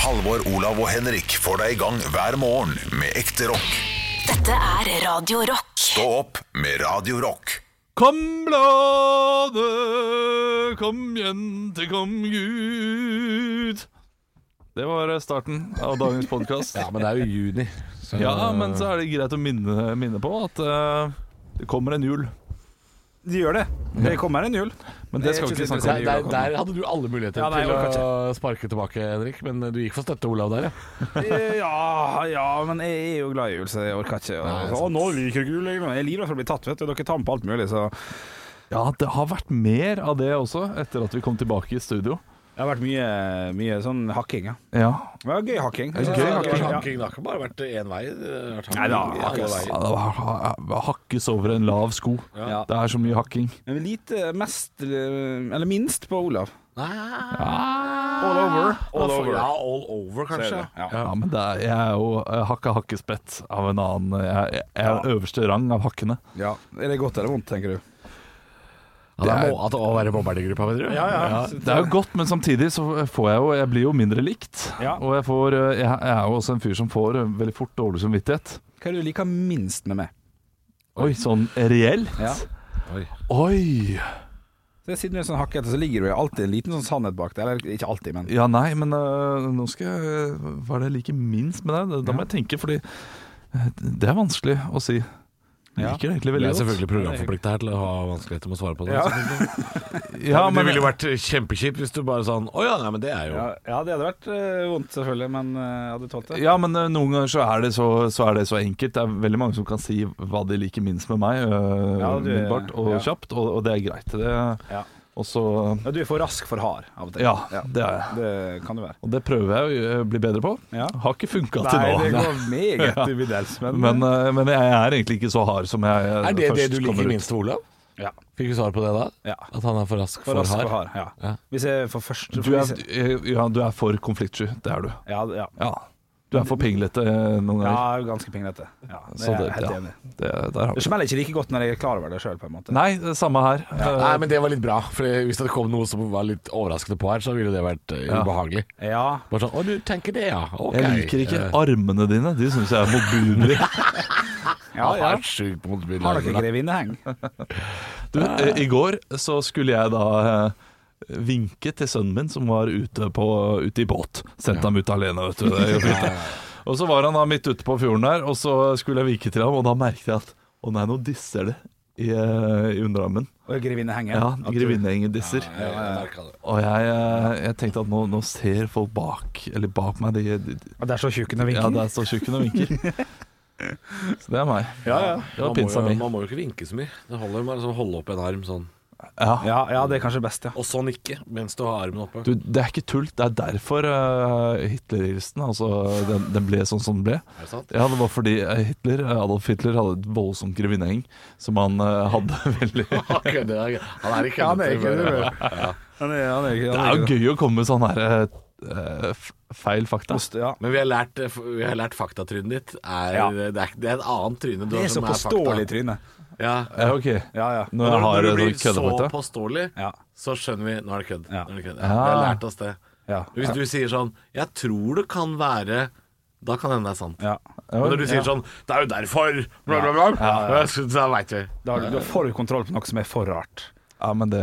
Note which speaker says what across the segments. Speaker 1: Halvor, Olav og Henrik får deg i gang hver morgen med ekte rock.
Speaker 2: Dette er Radio Rock.
Speaker 1: Stå opp med Radio Rock.
Speaker 3: Kom bladet, kom jente, kom Gud. Det var eh, starten av dagens podkast.
Speaker 4: Ja, men det er jo juni. Så,
Speaker 3: ja, men så er det greit å minne, minne på at eh, det kommer en jul.
Speaker 5: De gjør det. Det kommer en jul.
Speaker 3: Men det skal vi
Speaker 5: Det er
Speaker 3: ikke
Speaker 5: ikke så
Speaker 3: snakke
Speaker 4: der,
Speaker 3: om.
Speaker 4: der, der hadde du alle muligheter
Speaker 5: Ja, nei,
Speaker 4: til
Speaker 5: jeg
Speaker 4: å sparke tilbake, Henrik. Men du gikk for støtte, Olav, der, ja.
Speaker 5: Eh, Ja, ja, men jeg er jo glad i jul, så jeg orker ikke. å-
Speaker 4: Nei, sant.
Speaker 5: Å, nå liker jeg ikke jul lenger. Jeg er livredd for å bli tatt, vet du. Dere tar med på alt mulig, så Det
Speaker 3: Ja, det har vært mer av det også, etter at vi kom tilbake i studio.
Speaker 5: har vært mye, mye sånn hakking, ja.
Speaker 3: Ja,
Speaker 5: Det var gøy hakking.
Speaker 3: det gøy hakking?
Speaker 5: Ja.
Speaker 4: Det har ikke bare vært én vei.
Speaker 5: Nei, altså, det har ikke vært-
Speaker 3: ja det var, ha- ha- Hakkes over en lav sko.
Speaker 5: Ja.
Speaker 3: Det er så mye hakking.
Speaker 5: Men lite mest, eh, eller minst, på Olav.
Speaker 4: All
Speaker 5: over. All over.
Speaker 4: Ja, all over,
Speaker 5: Så
Speaker 4: kanskje.
Speaker 5: er det, ja.
Speaker 3: Ja, men det er, jeg er jo eh, hakka hakkespett av en annen eh, Jeg, jeg er øverste rang av hakkene.
Speaker 5: Ja. Er det godt eller vondt, tenker du?
Speaker 4: Ja, det er må- at å være mobberen i gruppa, mener du?
Speaker 3: Ja, det er jo godt, men samtidig så får jeg jo Jeg blir jo mindre likt.
Speaker 5: Ja.
Speaker 3: Og jeg, får, eh, jeg jeg er jo også en fyr som får eh, veldig fort dårlig samvittighet.
Speaker 5: Hva er det du liker minst med meg?
Speaker 3: Oi, sånn reelt?
Speaker 5: Ja.
Speaker 4: Oi.
Speaker 3: Oi!
Speaker 5: Så siden du er sånn hakkete, så ligger det jo alltid en liten sånn sannhet bak det. Eller ikke alltid, men
Speaker 3: Ja, nei, men eh, nå skal jeg Hva er det jeg liker minst med deg? Da- Da må jeg tenke, fordi eh, det er vanskelig å si. Jeg
Speaker 5: Ja.
Speaker 3: liker det egentlig
Speaker 4: Vi
Speaker 3: veldig
Speaker 4: er
Speaker 3: godt.
Speaker 4: selvfølgelig programforplikta her til å ha vanskeligheter med å svare på det.
Speaker 5: Ja.
Speaker 4: selvfølgelig.
Speaker 3: Ja,
Speaker 4: det
Speaker 3: men,
Speaker 4: ville jo vært kjempekjipt hvis du bare sånn Å ja, nei, men det er jo
Speaker 5: Ja, ja, det hadde vært eh, vondt, selvfølgelig, men eh, jeg hadde tålt det.
Speaker 3: ja, men eh, noen ganger så er, det så, så er det så enkelt. Det er veldig mange som kan si hva de liker minst med meg, eh,
Speaker 5: Ja, du-
Speaker 3: umiddelbart og
Speaker 5: ja.
Speaker 3: kjapt, og, og det er greit. Det,
Speaker 5: Ja.
Speaker 3: Og så
Speaker 5: Ja, du er for rask for hard av og til.
Speaker 3: Ja, det er jeg.
Speaker 5: Det kan du være.
Speaker 3: Og det prøver jeg å gjø- bli bedre på.
Speaker 5: Ja.
Speaker 3: Har ikke funka til nå.
Speaker 5: går meget til middels,
Speaker 3: Men, eh, men jeg er egentlig ikke så hard som jeg eh,
Speaker 4: Er det det
Speaker 3: først
Speaker 4: du liker
Speaker 3: kommer ut.
Speaker 4: minst ved Olav?
Speaker 3: eh,
Speaker 5: ja.
Speaker 4: Fikk du svar på det da?
Speaker 5: ja.
Speaker 4: At han er for rask
Speaker 5: For,
Speaker 4: for,
Speaker 5: rask for
Speaker 4: hard?
Speaker 5: hard. Ja.
Speaker 4: Ja.
Speaker 5: Hvis jeg får først
Speaker 3: Du er, eh, ja, du er for konfliktsky. Det er du.
Speaker 5: ja, ja.
Speaker 3: Ja. Du er for pinglete eh, noen
Speaker 5: ja,
Speaker 3: ganger.
Speaker 5: ganske pinglete. Ja, det
Speaker 3: Så
Speaker 5: er jeg
Speaker 3: det-
Speaker 5: helt
Speaker 3: ja.
Speaker 5: enig i.
Speaker 3: Det, der har vi.
Speaker 5: Det smeller ikke like godt når jeg er klar over det sjøl, på en måte.
Speaker 3: Nei, det samme her. Eh,
Speaker 4: Nei, men det var litt bra. For hvis det kom noe som var litt overraskende på her, så ville det vært eh,
Speaker 3: Ja.
Speaker 4: ubehagelig.
Speaker 5: Ja.
Speaker 4: Bare sånn Å, du tenker det, ja. Ok.
Speaker 3: Jeg liker ikke
Speaker 4: Eh,
Speaker 3: armene dine. De syns jeg er motbydelige.
Speaker 5: ja,
Speaker 4: Han
Speaker 5: ja.
Speaker 4: er sjukt motbydelig.
Speaker 5: Har dere grevinneheng?
Speaker 3: Du, eh, I går så skulle jeg da eh, vinke til sønnen min som var ute, på, ute i båt. Sendte ham ut alene, vet du. Det er jo fint, det. Og så var han da midt ute på fjorden der, og så skulle jeg vike til ham, og da merket jeg at å nei, nå disser det i, eh, i underarmen.
Speaker 5: Og grevinneheng?
Speaker 3: Ja, grevinnegjengen disser.
Speaker 4: Ja, jeg merker det.
Speaker 3: Og jeg, eh, jeg tenkte at nå, nå ser folk bak, eller bak meg, de, de, de
Speaker 5: Og der står tjukken og
Speaker 3: ja,
Speaker 5: vinker?
Speaker 3: der står tjukken og vinker. Så det er meg.
Speaker 5: Ja, ja.
Speaker 3: Det var
Speaker 4: Man må
Speaker 3: pinsa
Speaker 4: jo-
Speaker 3: mi.
Speaker 4: Man må jo ikke vinke så mye. Det holder jo bare å holde opp en arm sånn.
Speaker 3: Ja.
Speaker 5: Ja, ja, det er kanskje best, ja.
Speaker 4: Og sånn ikke, mens du har armen oppe.
Speaker 3: Du, det er ikke tull. Det er derfor eh, Hitler-hilsen altså, den, den ble sånn som den ble.
Speaker 4: Er det sant?
Speaker 3: Ja, det var fordi eh, Hitler, Adolf Hitler hadde et voldsomt grevinneheng som han eh, hadde veldig Det
Speaker 4: Han kødder. han- Han er ikke
Speaker 5: Han er ikke det.
Speaker 4: kødder.
Speaker 5: Han er, han er, ikke- han
Speaker 3: er
Speaker 5: er
Speaker 3: jo
Speaker 5: ikke det.
Speaker 3: gøy å komme med sånne her, eh, f- feil fakta.
Speaker 5: Ost- Ja.
Speaker 4: Men vi har lært, eh, f- vi har lært faktatrynet ditt. Er,
Speaker 5: Ja.
Speaker 4: det, er, det er et annet tryne du
Speaker 5: Det
Speaker 4: har
Speaker 5: er så
Speaker 4: som er fakta.
Speaker 5: påståelig tryne.
Speaker 4: Ja.
Speaker 3: Ja, ok.
Speaker 5: Ja, ja.
Speaker 3: Når jeg
Speaker 4: når
Speaker 3: har
Speaker 4: du blir
Speaker 3: noen
Speaker 4: så
Speaker 3: køddefakta.
Speaker 4: påståelig,
Speaker 5: Ja.
Speaker 4: så skjønner vi nå er det kødd.
Speaker 5: Ja. Ah.
Speaker 4: Nå er det kødd. Ja.
Speaker 3: Ja.
Speaker 4: Vi har lært oss det.
Speaker 5: Ja.
Speaker 4: Hvis du sier sånn 'Jeg tror det kan være' Da kan det hende det er sant.
Speaker 5: ja.
Speaker 4: Men når du sier sånn 'Det er jo derfor', bla, bla, bla, så- så veit vi.
Speaker 5: Da har du, du har for kontroll på noe som er for rart.
Speaker 3: Ja, men det,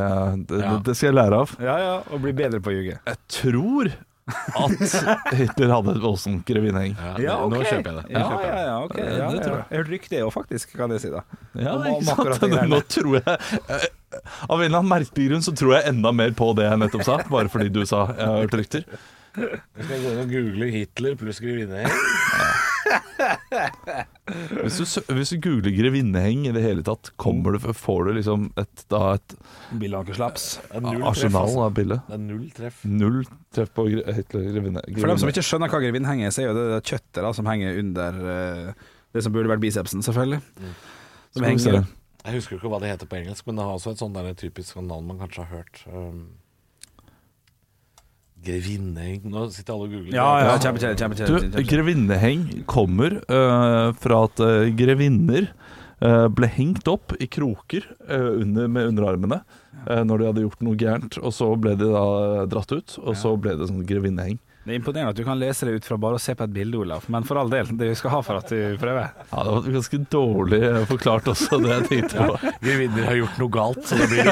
Speaker 3: det,
Speaker 4: Ja.
Speaker 3: det skal jeg lære av.
Speaker 5: Ja, ja, og bli bedre på å ljuge.
Speaker 3: Jeg tror at Hitler hadde et voldsomt grevinneheng.
Speaker 4: Ja, Nå kjøper jeg det.
Speaker 5: Ja, ja, ja, ok. Ja, ja.
Speaker 3: det tror jeg.
Speaker 5: Jeg hørte rykte òg, faktisk, kan jeg si. da
Speaker 3: Ja,
Speaker 5: Om- om
Speaker 3: ikke
Speaker 5: akkurat
Speaker 3: sant?
Speaker 5: de greiene.
Speaker 3: Nå tror jeg eh, Av en eller annen merkelig grunn så tror jeg enda mer på det jeg nettopp sa, bare fordi du sa jeg har hørt rykter.
Speaker 4: Skal jeg gå inn og google Hitler pluss grevinne?
Speaker 3: Hvis du, sø- hvis du googler grevinneheng i det hele tatt, kommer du, får du liksom et, da et
Speaker 5: Bilankerslaps.
Speaker 3: arsenal
Speaker 5: altså.
Speaker 3: av bilde.
Speaker 4: altså. Det er null treff.
Speaker 3: Null treff på gre- Hitler grevinne.
Speaker 5: For dem som
Speaker 3: grevinne.
Speaker 5: ikke skjønner hva grevin henger, så er jo det, det kjøttet da, som henger under eh, det som burde vært bicepsen, selvfølgelig. Som
Speaker 3: Skal vi se.
Speaker 5: henger
Speaker 4: Jeg husker jo ikke hva det heter på engelsk, men det har også et sånn der typisk sånn navn man kanskje har hørt. Um, grevinne Nå sitter alle og googler.
Speaker 5: Ja, ja, kjempe, kjempe, kjempe,
Speaker 3: Du,
Speaker 5: kjempe, kjempe.
Speaker 3: grevinneheng kommer eh, fra at eh, grevinner eh, ble hengt opp i kroker eh, under, med underarmene eh, når de hadde gjort noe gærent. Og så ble de da eh, dratt ut, og så ble det sånn grevinneheng.
Speaker 5: Det er imponerende at du kan lese det ut fra bare å se på et bilde, Olav. Men for all del, det skal ha for at du prøver.
Speaker 3: Ja, det var ganske dårlig eh, forklart også, det jeg tenkte på.
Speaker 4: Grevinner har gjort noe galt, så det blir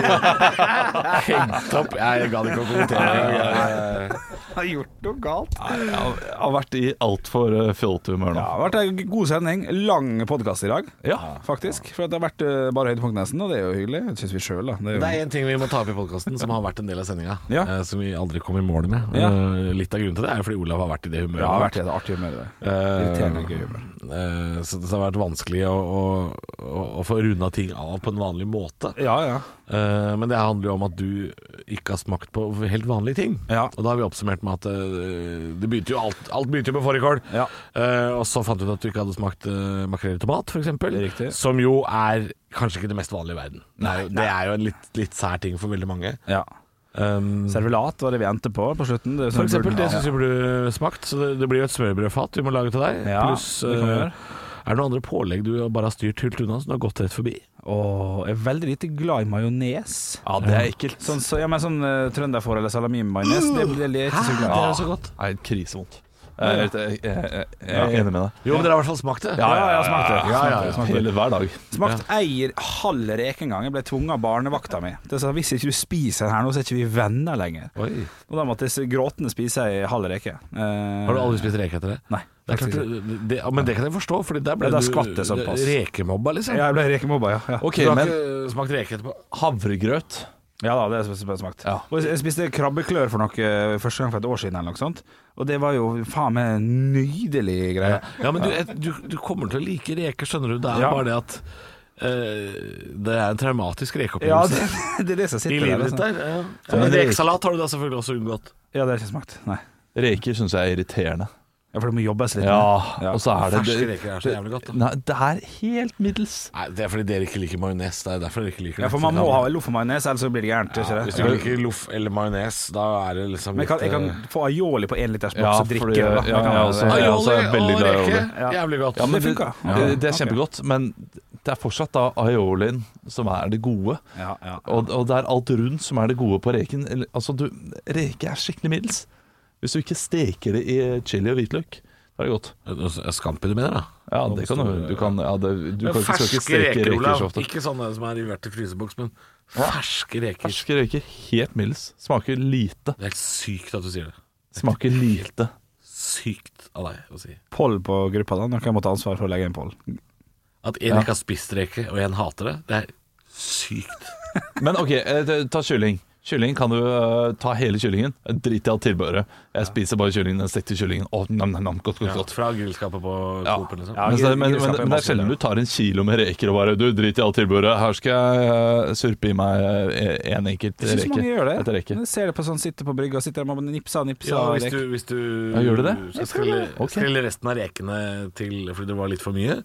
Speaker 4: hengt opp. Jeg gadd ikke å kommentere.
Speaker 5: Har gjort noe galt.
Speaker 3: Jeg har, jeg har vært i altfor eh, fjollete humør nå.
Speaker 5: Ja, det har vært en god sending. Lang podkast i dag,
Speaker 3: Ja.
Speaker 5: faktisk. For det har vært eh, bare høydepunkt nesten, og det er jo hyggelig. Det syns vi sjøl, da. Det er jo...
Speaker 4: Det er en ting vi må ta opp i podkasten som har vært en del av sendinga.
Speaker 5: Um, Ja.
Speaker 4: eh, Som vi aldri kom i mål med.
Speaker 5: Ja.
Speaker 4: Eh, Litt av grunnen til det er jo fordi Olav har vært i det humøret.
Speaker 5: det har vært et artig humør. Det. Irriterende gøy humør.
Speaker 4: Eh, Så det har vært vanskelig å, å, å, å få runda ting av på en vanlig måte.
Speaker 5: Ja, ja.
Speaker 4: Eh, Men det handler jo om at du ikke har smakt på helt vanlige ting.
Speaker 5: Ja.
Speaker 4: Og da har vi oppsummert med at eh, det begynte jo alt, alt begynte jo med fårikål.
Speaker 5: Ja.
Speaker 4: Eh, og så fant vi ut at du ikke hadde smakt eh, makrell i tomat, f.eks.
Speaker 5: Riktig.
Speaker 4: Som jo er kanskje ikke det mest vanlige i verden. Det er jo, det er jo en litt, litt sær ting for veldig mange.
Speaker 5: ja.
Speaker 4: Um,
Speaker 5: Servelat var det vi endte på på slutten. Det er sånn
Speaker 4: for eksempel,
Speaker 5: burde-
Speaker 4: det syns jeg burde smakt. Så det, det blir jo et smørbrødfat vi må lage til deg.
Speaker 5: Ja,
Speaker 4: Pluss
Speaker 5: det kan vi
Speaker 4: eh,
Speaker 5: gjøre.
Speaker 4: Er det noen andre pålegg du bare har styrt helt unna, som du har gått rett forbi?
Speaker 5: Og jeg er veldig lite glad i majones.
Speaker 3: Ja, det er ekkelt.
Speaker 5: Sånn, så, ja, men sånn uh, trønderfår eller salami-majones, det, det er jeg ikke så glad i.
Speaker 4: Ah, Det er så godt.
Speaker 3: Nei, krisevondt. Jeg, er helt- jeg, jeg, jeg, jeg er enig med deg.
Speaker 4: Jo, men dere har i hvert fall smakt det.
Speaker 5: ja, jeg har smakt det.
Speaker 4: Ja, ja,
Speaker 5: Smakt det,
Speaker 4: ja.
Speaker 5: smakt det.
Speaker 3: Hele hver dag.
Speaker 5: Smakt ei halv reke en gang. Jeg ble tvunget av barnevakta mi. Det sa hvis ikke du spiser den her nå, så er ikke vi venner lenger.
Speaker 4: Oi.
Speaker 5: Og da måtte jeg s- gråtende spise ei halv reke. Eh,
Speaker 4: Har du aldri spist reke etter det?
Speaker 5: Nei.
Speaker 4: Det er klart,
Speaker 5: faktisk ikke.
Speaker 4: det, det, ja, men det kan jeg forstå, Fordi der ble
Speaker 5: Ja, da skvatt
Speaker 4: du
Speaker 5: det såpass.
Speaker 4: rekemobba, liksom.
Speaker 5: Ja, jeg ble rekemobba, ja. ja.
Speaker 3: Ok,
Speaker 4: du har
Speaker 3: men
Speaker 4: ikke smakt reke etterpå?
Speaker 3: havregrøt
Speaker 5: Ja da, det har jeg smakt.
Speaker 3: Ja.
Speaker 5: Og jeg spiste krabbeklør for noe første gang for et år siden, eller noe sånt. Og det var jo faen meg en nydelig greie.
Speaker 4: Ja, men du, et- du, du kommer til å like reker, skjønner du. Det er
Speaker 5: Ja.
Speaker 4: bare det at eh, det er en traumatisk
Speaker 5: Ja,
Speaker 4: rekeopplevelse
Speaker 5: det, det er det som
Speaker 4: i
Speaker 5: sitter der.
Speaker 4: livet ditt
Speaker 5: Liksom.
Speaker 4: der. Ja.
Speaker 3: Ja, men
Speaker 4: men
Speaker 3: det-
Speaker 4: rekesalat har du da selvfølgelig også unngått.
Speaker 5: Ja, det har jeg ikke smakt. Nei.
Speaker 3: Reker syns jeg er irriterende.
Speaker 5: Ja, for det må jobbes litt. med.
Speaker 3: Ja,
Speaker 5: Ja.
Speaker 3: og så er det,
Speaker 4: Ferske
Speaker 3: det
Speaker 4: reker er så jævlig godt. Da.
Speaker 3: Nei, det er helt middels.
Speaker 4: Nei, det er fordi dere ikke liker majones. Det er derfor dere ikke liker
Speaker 5: ja, for man må ha loff og majones, ellers så blir det gærent. ikke det?
Speaker 4: Hvis du ikke liker loff eller majones, da er det liksom
Speaker 5: Men jeg kan, jeg
Speaker 4: eh,
Speaker 5: kan få aioli på én liters boks
Speaker 3: Ja,
Speaker 5: og drikke
Speaker 3: fordi-
Speaker 5: det.
Speaker 3: ja,
Speaker 5: da. Da kan eh,
Speaker 3: ja,
Speaker 5: jeg-
Speaker 4: altså.
Speaker 3: også-
Speaker 5: ja.
Speaker 3: jeg også er
Speaker 4: Aioli
Speaker 3: veldig
Speaker 4: eh, og
Speaker 3: glad i
Speaker 4: reke.
Speaker 5: aioli. Ja.
Speaker 4: Jævlig godt.
Speaker 3: Ja, men
Speaker 5: det funka.
Speaker 3: Det,
Speaker 5: Ja.
Speaker 3: det er kjempegodt, men det er fortsatt da aiolien som er det gode.
Speaker 5: Ja, ja.
Speaker 3: Og, og det er alt rundt som er det gode på reken. Eller, Altså, du, reke er skikkelig middels. Hvis du ikke steker det i chili og hvitløk, da er det godt.
Speaker 4: Scampi du mener, da?
Speaker 3: Ja, det kan du. Du kan, ja, det, du
Speaker 4: Men
Speaker 3: kan ikke, skal ikke
Speaker 4: ferske
Speaker 3: steke
Speaker 4: reker,
Speaker 3: reker så
Speaker 4: Olav.
Speaker 3: ofte.
Speaker 4: Ikke sånne som er rivert i fryseboks, men ferske reker.
Speaker 3: Ferske røyker, helt middels. Smaker lite.
Speaker 4: Det er helt sykt at du sier det.
Speaker 3: Smaker lite.
Speaker 4: Sykt av deg å si.
Speaker 5: Poll på gruppa, da. Nå kan jeg måtte ha ansvar for å legge inn poll.
Speaker 4: At en ikke har spist reker, og en hater det, det er sykt.
Speaker 3: Men OK, eh, det- ta kylling. Kylling kan du eh, ta hele kyllingen. Drit i alt tilbehøret. Jeg spiser bare kyllingen, den stekte kyllingen. Å, nam, nam, nam, godt, godt, godt.
Speaker 4: Fra grillskapet på Coop, liksom.
Speaker 5: Ja.
Speaker 3: Men, så,
Speaker 5: gr-
Speaker 3: men, men,
Speaker 5: grillskapet er
Speaker 3: men det er
Speaker 5: masse
Speaker 3: sjelden
Speaker 5: bedre.
Speaker 3: du tar en kilo med reker og bare Du, drit i alt tilbudet, her skal jeg eh, surpe i meg eh, en enkelt
Speaker 5: Jeg syns
Speaker 3: reke
Speaker 5: mange gjør
Speaker 3: etter
Speaker 5: det.
Speaker 3: reke.
Speaker 5: Jeg ser det på sånn sitter på brygga, sitter der med nipsa og nipsa.
Speaker 4: Ja,
Speaker 5: og
Speaker 4: hvis du,
Speaker 5: leker.
Speaker 4: hvis du
Speaker 3: Ja, gjør du det?
Speaker 4: skal skrelle,
Speaker 3: Ok.
Speaker 4: skrelle resten av rekene til fordi det var litt for mye,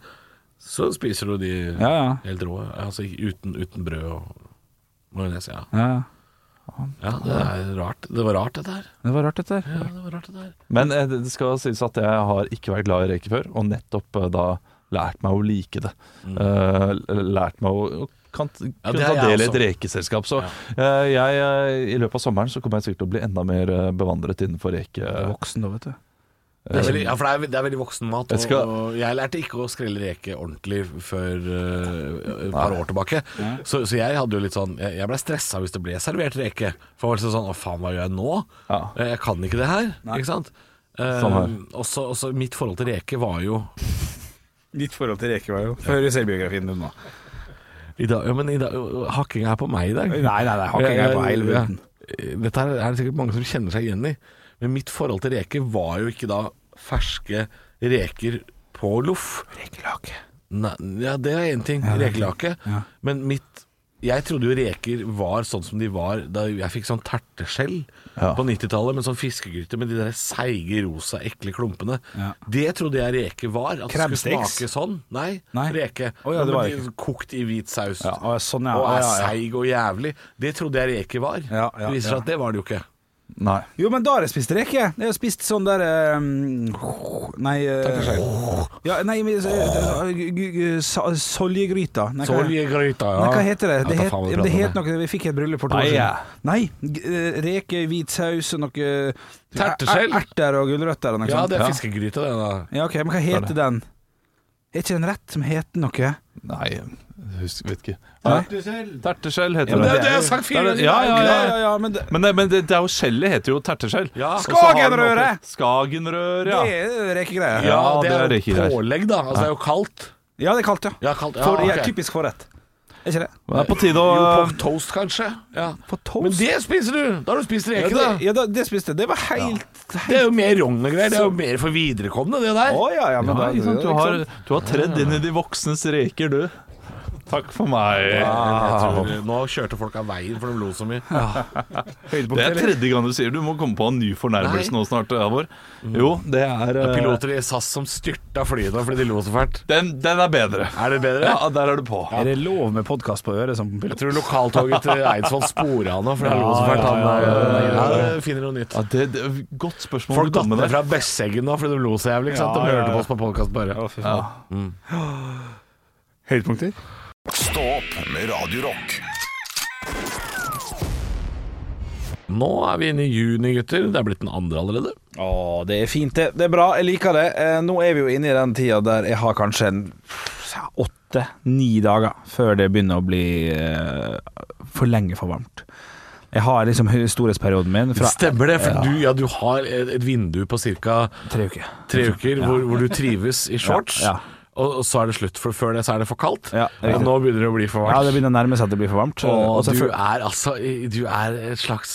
Speaker 4: så spiser du de
Speaker 5: Ja, ja.
Speaker 4: helt rå. Altså uten, uten brød og majones. Ja.
Speaker 5: ja. ja.
Speaker 4: ja, det er rart. Det var rart, dette her.
Speaker 5: Det var rart, dette her.
Speaker 4: Ja, det var rart, dette her.
Speaker 3: Men eh, det det skal sies at jeg har ikke vært glad i reker før, og nettopp eh, da lært meg å like det. Eh, lært meg å å kan,
Speaker 4: Mm. Ja,
Speaker 3: kunne
Speaker 4: det
Speaker 3: ta
Speaker 4: har jeg
Speaker 3: del i et
Speaker 4: også.
Speaker 3: rekeselskap. Så eh, jeg, eh, i løpet av sommeren så kommer jeg sikkert til å bli enda mer eh, bevandret innenfor reke.
Speaker 5: Du er Voksen, da, vet du.
Speaker 4: Det er veldig, ja, for det er, det er veldig voksen mat.
Speaker 3: Jeg
Speaker 4: Og,
Speaker 3: skal-
Speaker 4: og jeg lærte ikke å skrelle reke ordentlig før eh, et par år tilbake. Så, så jeg hadde jo litt sånn Jeg, jeg blei stressa hvis det ble servert reke. For jeg var liksom sånn Å, faen, hva gjør jeg nå?
Speaker 3: Ja.
Speaker 4: Eh, Jeg kan ikke det her. Ikke sant? Eh,
Speaker 3: Sånn
Speaker 4: også, også mitt forhold til reke var jo
Speaker 5: Ditt forhold til reker var jo Før selvbiografien din nå.
Speaker 4: i dag, ja, men i dag, Hakkinga er på meg i dag.
Speaker 5: Nei, nei, nei, hakkinga er på hele
Speaker 4: Ja.
Speaker 5: bunten.
Speaker 4: eh, Dette her er det sikkert mange som kjenner seg igjen i. Men mitt forhold til reker var jo ikke da ferske reker på loff.
Speaker 5: Rekelake.
Speaker 4: Nei, ja, det er én ting. Rekelake.
Speaker 5: Ja.
Speaker 4: Men mitt Jeg trodde jo reker var sånn som de var da jeg fikk sånn terteskjell
Speaker 3: Ja.
Speaker 4: på 90-tallet, med sånn fiskegryte med de der seige, rosa, ekle klumpene.
Speaker 5: Ja.
Speaker 4: Det trodde jeg reker var. At det skulle
Speaker 5: Krabsteks?
Speaker 4: smake sånn. Nei,
Speaker 5: Nei.
Speaker 4: reke.
Speaker 5: Å ja, det var
Speaker 4: Men de Kokt i hvit saus.
Speaker 5: Ja, å, sånn, ja.
Speaker 4: Og
Speaker 5: Å,
Speaker 4: er
Speaker 5: ja, ja.
Speaker 4: seig og jævlig. Det trodde jeg reker var.
Speaker 5: Ja, ja,
Speaker 4: det viser seg
Speaker 5: ja.
Speaker 4: at det var det jo ikke.
Speaker 3: Nei.
Speaker 5: Jo, men da har jeg spist reke. Jeg har spist sånn der eh, Nei eh, ja, Nei, men, eh, g- g- g- sa- Soljegryta. Nei, hva-
Speaker 4: Soljegryta, ja.
Speaker 5: Nei, hva heter det?
Speaker 4: Jeg
Speaker 5: Det
Speaker 4: tar
Speaker 5: het,
Speaker 4: faen hva
Speaker 5: ja, men
Speaker 4: vi
Speaker 5: det het
Speaker 4: prater om,
Speaker 5: noe Vi fikk et bryllup for to år
Speaker 3: Nei, ja.
Speaker 5: siden. Nei. g- eh, Reke, hvit saus og noe eh, er-
Speaker 4: Terteskjell?
Speaker 5: Erter og gulrøtter og noe
Speaker 4: det. Ja,
Speaker 5: sånt.
Speaker 4: det er fiskegryte, det. da
Speaker 5: Ja, ok, Men hva heter den? Er ikke den rett som heter noe?
Speaker 3: Nei, jeg husker, vet ikke.
Speaker 5: Nei.
Speaker 3: Terteskjell
Speaker 5: Ja,
Speaker 3: heter
Speaker 5: men
Speaker 3: det.
Speaker 5: det er jo det jeg har
Speaker 4: sagt
Speaker 3: Det er det- Ja, ja, ja.
Speaker 5: ja, ja men det,
Speaker 3: Men, det, men det, det er jo skjellet heter jo terteskjell.
Speaker 4: Ja.
Speaker 3: Og så har den
Speaker 5: Skagenrøre!
Speaker 3: oppi- Skagenrøre,
Speaker 5: det
Speaker 3: ja.
Speaker 5: er rekegreier.
Speaker 4: Ja,
Speaker 3: Ja,
Speaker 4: det er
Speaker 3: det er
Speaker 4: jo
Speaker 3: riktig.
Speaker 4: pålegg, da. Altså, det er jo kaldt.
Speaker 5: Ja, det er kaldt, ja.
Speaker 4: Ja, kaldt. Ja,
Speaker 5: For, ja,
Speaker 4: ok.
Speaker 5: Typisk forrett. Er ikke det?
Speaker 3: Det er på tide å
Speaker 4: Jo, på toast, kanskje. Ja.
Speaker 5: På toast?
Speaker 4: Men det spiser du! Da har du spist
Speaker 5: Ja,
Speaker 4: reke,
Speaker 5: det,
Speaker 4: da.
Speaker 5: ja, da- det spiste jeg. Det var helt
Speaker 4: Det er jo mer rogn-greier. Det er jo mer for viderekomne, det
Speaker 5: Å
Speaker 4: der.
Speaker 5: ja, ja, men
Speaker 3: ja,
Speaker 5: da-
Speaker 3: ikke sant? Du,
Speaker 5: ikke
Speaker 3: har,
Speaker 5: sant?
Speaker 3: du har tredd inn i de voksnes reker, du. Takk for meg.
Speaker 4: Jeg tror- Nå kjørte folk av veien, for de lo så mye.
Speaker 3: Det
Speaker 5: høydepunkt,
Speaker 3: er
Speaker 5: eller?
Speaker 3: tredje gang du sier det. Du må komme på en ny fornærmelse
Speaker 4: Nei.
Speaker 3: nå snart, Halvor. Jo, det er eh,
Speaker 4: Piloter i SAS som styrta flyet da fordi de lo så fælt.
Speaker 3: Den, den er bedre.
Speaker 4: Er det bedre?
Speaker 3: Ja, der er du på.
Speaker 5: Er det lov med podkast på øret som pilot?
Speaker 4: Jeg tror lokaltoget til Eidsvoll spora han nå, for han lo så
Speaker 3: Ja,
Speaker 4: fælt.
Speaker 3: ja,
Speaker 4: Han
Speaker 3: ja, ja, ja, ja.
Speaker 4: eh, finner noe nytt.
Speaker 3: Ja, det, det, godt spørsmål. du
Speaker 4: Folk datt
Speaker 3: kom med
Speaker 4: ned
Speaker 3: der.
Speaker 4: fra Besseggen nå fordi de lo så jævlig. Ikke sant?
Speaker 5: Ja,
Speaker 4: De
Speaker 5: ja,
Speaker 4: hørte
Speaker 5: ja.
Speaker 4: på oss på podkast bare.
Speaker 3: Ja.
Speaker 5: Høydepunkter?
Speaker 1: Stå opp med Radio Rock.
Speaker 4: Nå er vi inne i juni, gutter. Det er blitt den andre allerede.
Speaker 5: Å, det er fint, det. Det er bra. Jeg liker det. Eh, nå er vi jo inne i den tida der jeg har kanskje en åtte-ni dager før det begynner å bli eh, for lenge for varmt. Jeg har liksom hø- storhetsperioden min fra
Speaker 4: Stemmer det? For du, ja, du har et et vindu på ca.
Speaker 5: tre uker.
Speaker 4: tre uker hvor, hvor du trives i shorts.
Speaker 5: Ja, ja.
Speaker 4: Og og så er det slutt, for før det så er det for kaldt.
Speaker 5: Ja, riktig.
Speaker 4: og nå begynner det å bli for
Speaker 5: Ja,
Speaker 4: varmt.
Speaker 5: det begynner å nærme seg at det blir for varmt.
Speaker 4: og
Speaker 5: Og så
Speaker 4: du
Speaker 5: føl-
Speaker 4: er altså Du er et slags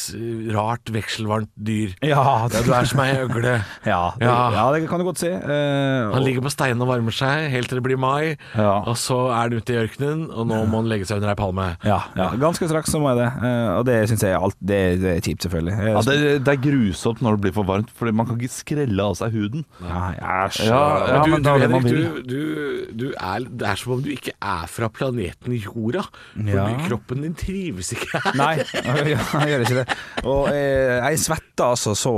Speaker 4: rart vekselvarmt dyr.
Speaker 5: ja,
Speaker 4: Ja, du er som ei øgle.
Speaker 5: Ja, det,
Speaker 4: Ja.
Speaker 5: ja, det kan du godt si. Eh,
Speaker 4: Han ligger på steinen og varmer seg helt til det blir mai,
Speaker 5: Ja.
Speaker 4: og så er han ute i ørkenen, og nå må han legge seg under ei palme.
Speaker 5: ja, ja, ganske straks så må jeg det. Eh, og det syns jeg er alt det, det er kjipt, selvfølgelig. Jeg,
Speaker 3: Ja, det, det er grusomt når det blir for varmt, Fordi man kan ikke skrelle av seg huden.
Speaker 5: Nei, æsj.
Speaker 3: Ja, ja,
Speaker 5: men
Speaker 4: du,
Speaker 5: da er
Speaker 4: du,
Speaker 5: det man
Speaker 4: Henrik,
Speaker 5: vil.
Speaker 4: du, du, du er, det er som om du ikke er fra planeten jorda. For
Speaker 5: Ja.
Speaker 4: kroppen din trives ikke her.
Speaker 5: Nei, jeg gjør ikke det. Og jeg, jeg svetter altså så,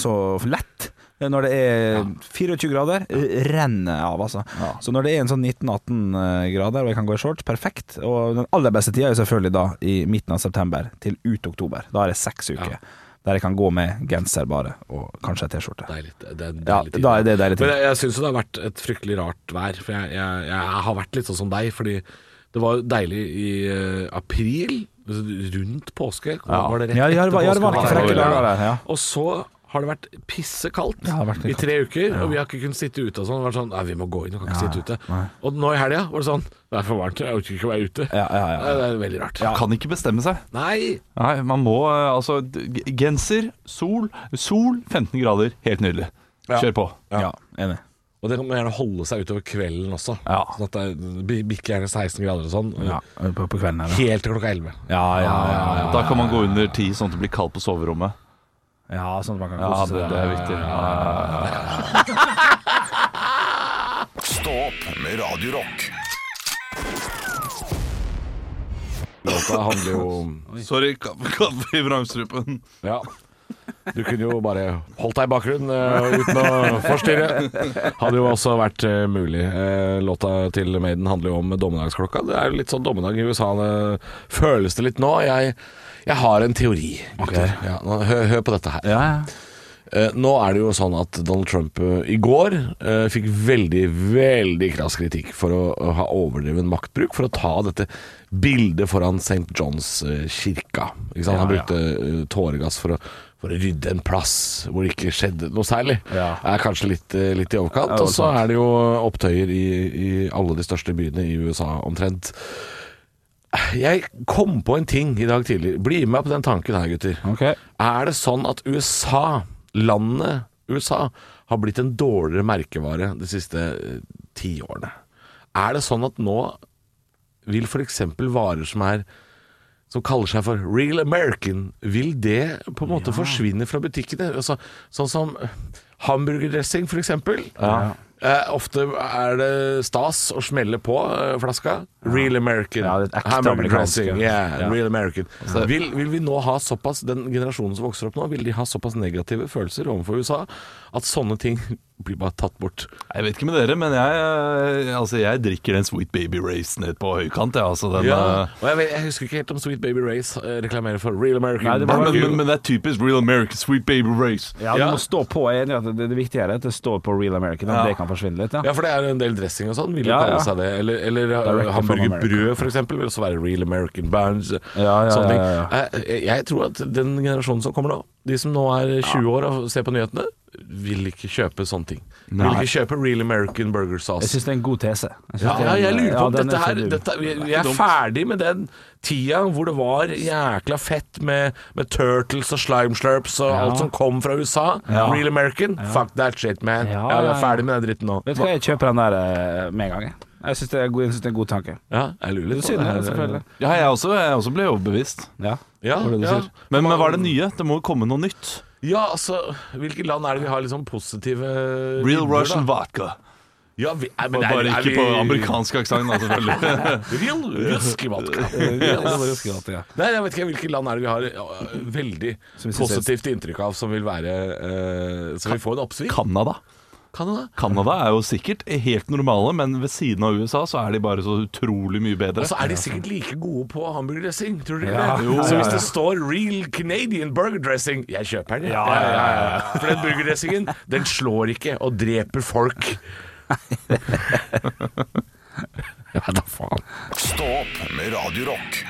Speaker 5: så lett. eh, Når det er 24 grader, renner av, altså. Så når det er en sånn 19-18 grader, og jeg kan gå i shorts, perfekt. Og den aller beste tida er jo selvfølgelig da i midten av september til ut oktober. Da er det seks uker. Der jeg kan gå med genser bare, og kanskje ei T-skjorte.
Speaker 4: Deilig, det er en
Speaker 5: Ja,
Speaker 4: deilig tid.
Speaker 5: da er det deilig tid.
Speaker 4: Men jeg, jeg syns jo det har vært et fryktelig rart vær. For jeg, jeg, jeg har vært litt sånn som deg, fordi det var jo deilig i eh, april, rundt påske. Var det rett
Speaker 5: Ja, ja, det var- ja, det var
Speaker 4: etter
Speaker 5: ikke
Speaker 4: påske?
Speaker 5: frekke dager der, ja.
Speaker 4: Og så har det vært pissekaldt
Speaker 5: Ja, det har vært litt
Speaker 4: i tre uker, og vi har ikke kunnet sitte ute og sånn. Det har vært sånn Nei, vi må gå inn, vi kan ikke sitte ute.
Speaker 5: nei.
Speaker 4: Og nå i helga var det sånn Det er for varmt, jeg orker ikke å være ute.
Speaker 5: Ja, ja, ja.
Speaker 4: Det er- Det er veldig rart.
Speaker 3: Man kan ikke bestemme seg.
Speaker 4: Nei!
Speaker 3: Nei, man må eh, altså d- g- Genser, sol, sol 15 grader. Helt nydelig. Kjør på.
Speaker 5: Ja, enig.
Speaker 4: Og det kan man gjerne holde seg utover kvelden også.
Speaker 3: Ja.
Speaker 4: Sånn at det bikker gjerne 16 grader og sånn.
Speaker 5: Ja, på, på kvelden her. da.
Speaker 4: Helt til klokka 11.
Speaker 5: Ja, ja, ja.
Speaker 3: Da kan man gå under ti, sånn at det blir kaldt på soverommet.
Speaker 5: ja sånn at man kan
Speaker 3: Ja,
Speaker 5: kose
Speaker 3: det,
Speaker 5: seg.
Speaker 3: det er viktig. Ja, ja, ja.
Speaker 1: Stå opp med Radio Rock.
Speaker 4: Låta handler jo om
Speaker 3: Sorry, kaffe i vrangstrupen.
Speaker 4: Ja. Du kunne jo bare holdt deg i bakgrunnen eh, uten å forstyrre. Hadde jo også vært eh, mulig. Eh, låta til Maiden handler jo om dommedagsklokka. Det er jo litt sånn dommedag i USA det føles det litt nå. Jeg, jeg har en teori. gutter. Ja, nå, hør, hør på dette her.
Speaker 5: Ja, ja.
Speaker 4: Eh, nå er det jo sånn at Donald Trump eh, i går eh, fikk veldig, veldig krass kritikk for å, å ha overdreven maktbruk, for å ta dette bildet foran St. Johns eh, kirka. Ikke sant? Han brukte eh, tåregass for å, for å rydde en plass hvor det ikke skjedde noe særlig.
Speaker 5: Ja.
Speaker 4: Det er kanskje litt, eh, litt i overkant.
Speaker 5: Ja, det var
Speaker 4: og så er det jo opptøyer i, i alle de største byene i USA omtrent. Jeg kom på en ting i dag tidlig. Bli med meg på den tanken her, gutter.
Speaker 5: Ok.
Speaker 4: Er det sånn at USA, landet USA, har blitt en dårligere merkevare de siste eh, ti årene? Er det sånn at nå vil f.eks. varer som er som kaller seg for Real American, vil det på en måte forsvinne fra butikkene? Altså, sånn som hamburgerdressing, f.eks.
Speaker 5: Ja.
Speaker 4: Eh, ofte er det stas å smelle på eh, flaska. Real American.
Speaker 5: Ja, det er ekte
Speaker 4: Hamburger
Speaker 5: amerikansk,
Speaker 4: dressing. Yeah,
Speaker 5: ja. Altså-
Speaker 4: Real American. Vil, vil vi nå ha såpass Den generasjonen som vokser opp nå, vil de ha såpass negative følelser overfor USA at sånne ting blir bare tatt bort?
Speaker 3: Jeg vet ikke med dere, men jeg, eh, altså, jeg drikker den Sweet Baby Race ned på høykant. Jeg, altså, den, eh,
Speaker 4: Og jeg, vet, jeg husker ikke helt om Sweet Baby Race eh, reklamerer for Real American.
Speaker 5: Nei, det
Speaker 3: men,
Speaker 5: var-
Speaker 4: barbecue.
Speaker 3: men, men det er typisk Real American Sweet Baby Race.
Speaker 5: Ja, du
Speaker 4: Ja.
Speaker 5: må stå på. Jeg er enig i at det, det viktige er at det står på Real American. At
Speaker 3: Ja.
Speaker 5: det kan forsvinne litt. Ja.
Speaker 4: Ja, for det er en del dressing og sånn. Vil jo
Speaker 5: Ja,
Speaker 4: kalle
Speaker 5: ja.
Speaker 4: seg det. Eller, eller
Speaker 5: Direct
Speaker 4: uh, hamburgerbrød, for eksempel, vil også være real American bands.
Speaker 5: Ja, ja,
Speaker 4: sånne ting. Eh,
Speaker 5: ja, ja,
Speaker 4: Jeg, jeg tror at den generasjonen som kommer nå, de som nå er 20 år og ser på nyhetene, vil ikke kjøpe sånne ting. Vil ikke kjøpe real American burger
Speaker 5: Jeg
Speaker 4: sauce.
Speaker 5: syns det er en god tese. Jeg synes
Speaker 4: Ja,
Speaker 5: det er
Speaker 4: ja,
Speaker 5: en-
Speaker 4: jeg lurer på om
Speaker 5: ja, den
Speaker 4: dette
Speaker 5: er
Speaker 4: her
Speaker 5: fin.
Speaker 4: dette, vi, vi er ferdig med den tida hvor det var jækla fett med, med turtles og slime slurps og alt som kom fra USA. Real American. Fuck that shit, man. Ja,
Speaker 5: Ja,
Speaker 4: vi
Speaker 5: ja,
Speaker 4: er
Speaker 5: ja.
Speaker 4: ferdig med den dritten nå.
Speaker 5: Vet du hva, jeg kjøper den der eh, med en gang. jeg. Jeg syns det, er god- jeg synes det er en god tanke.
Speaker 4: Ja, jeg lurer litt på
Speaker 5: Synd,
Speaker 4: det
Speaker 5: ja,
Speaker 4: her.
Speaker 5: selvfølgelig.
Speaker 3: Ja, jeg også, jeg også ble overbevist.
Speaker 5: Ja.
Speaker 4: Ja,
Speaker 3: var det du
Speaker 4: ja.
Speaker 3: sier. Men, men hva er det nye? Det må jo komme noe nytt.
Speaker 4: ja, altså Hvilke land er det vi har liksom positive
Speaker 3: Real
Speaker 4: vibber, da?
Speaker 3: Russian vodka.
Speaker 4: Ja, vi, nei, men
Speaker 3: Bare,
Speaker 4: er-
Speaker 3: bare
Speaker 4: er
Speaker 3: ikke
Speaker 4: vi-
Speaker 3: på amerikansk aksent, da, selvfølgelig.
Speaker 4: Real russisk vodka.
Speaker 5: Ja.
Speaker 4: Nei, jeg vet ikke hvilke land er det vi har øh, veldig
Speaker 5: Som vi synes er-
Speaker 4: positivt inntrykk av som vil være øh, Så vi får en oppsving.
Speaker 3: Canada.
Speaker 4: Canada.
Speaker 3: Canada er jo sikkert helt normale, men ved siden av USA så er de bare så utrolig mye bedre.
Speaker 4: Og så er de sikkert like gode på hamburgerdressing, tror du ikke
Speaker 5: Ja,
Speaker 4: det?
Speaker 3: jo,
Speaker 4: så
Speaker 3: ja,
Speaker 4: hvis
Speaker 3: ja.
Speaker 4: det står 'real Canadian burger dressing', jeg kjøper den.
Speaker 3: Ja, ja, ja,
Speaker 4: For den burgerdressingen, den slår ikke og dreper folk. ja, da faen.
Speaker 1: Stå opp med Radio Rock.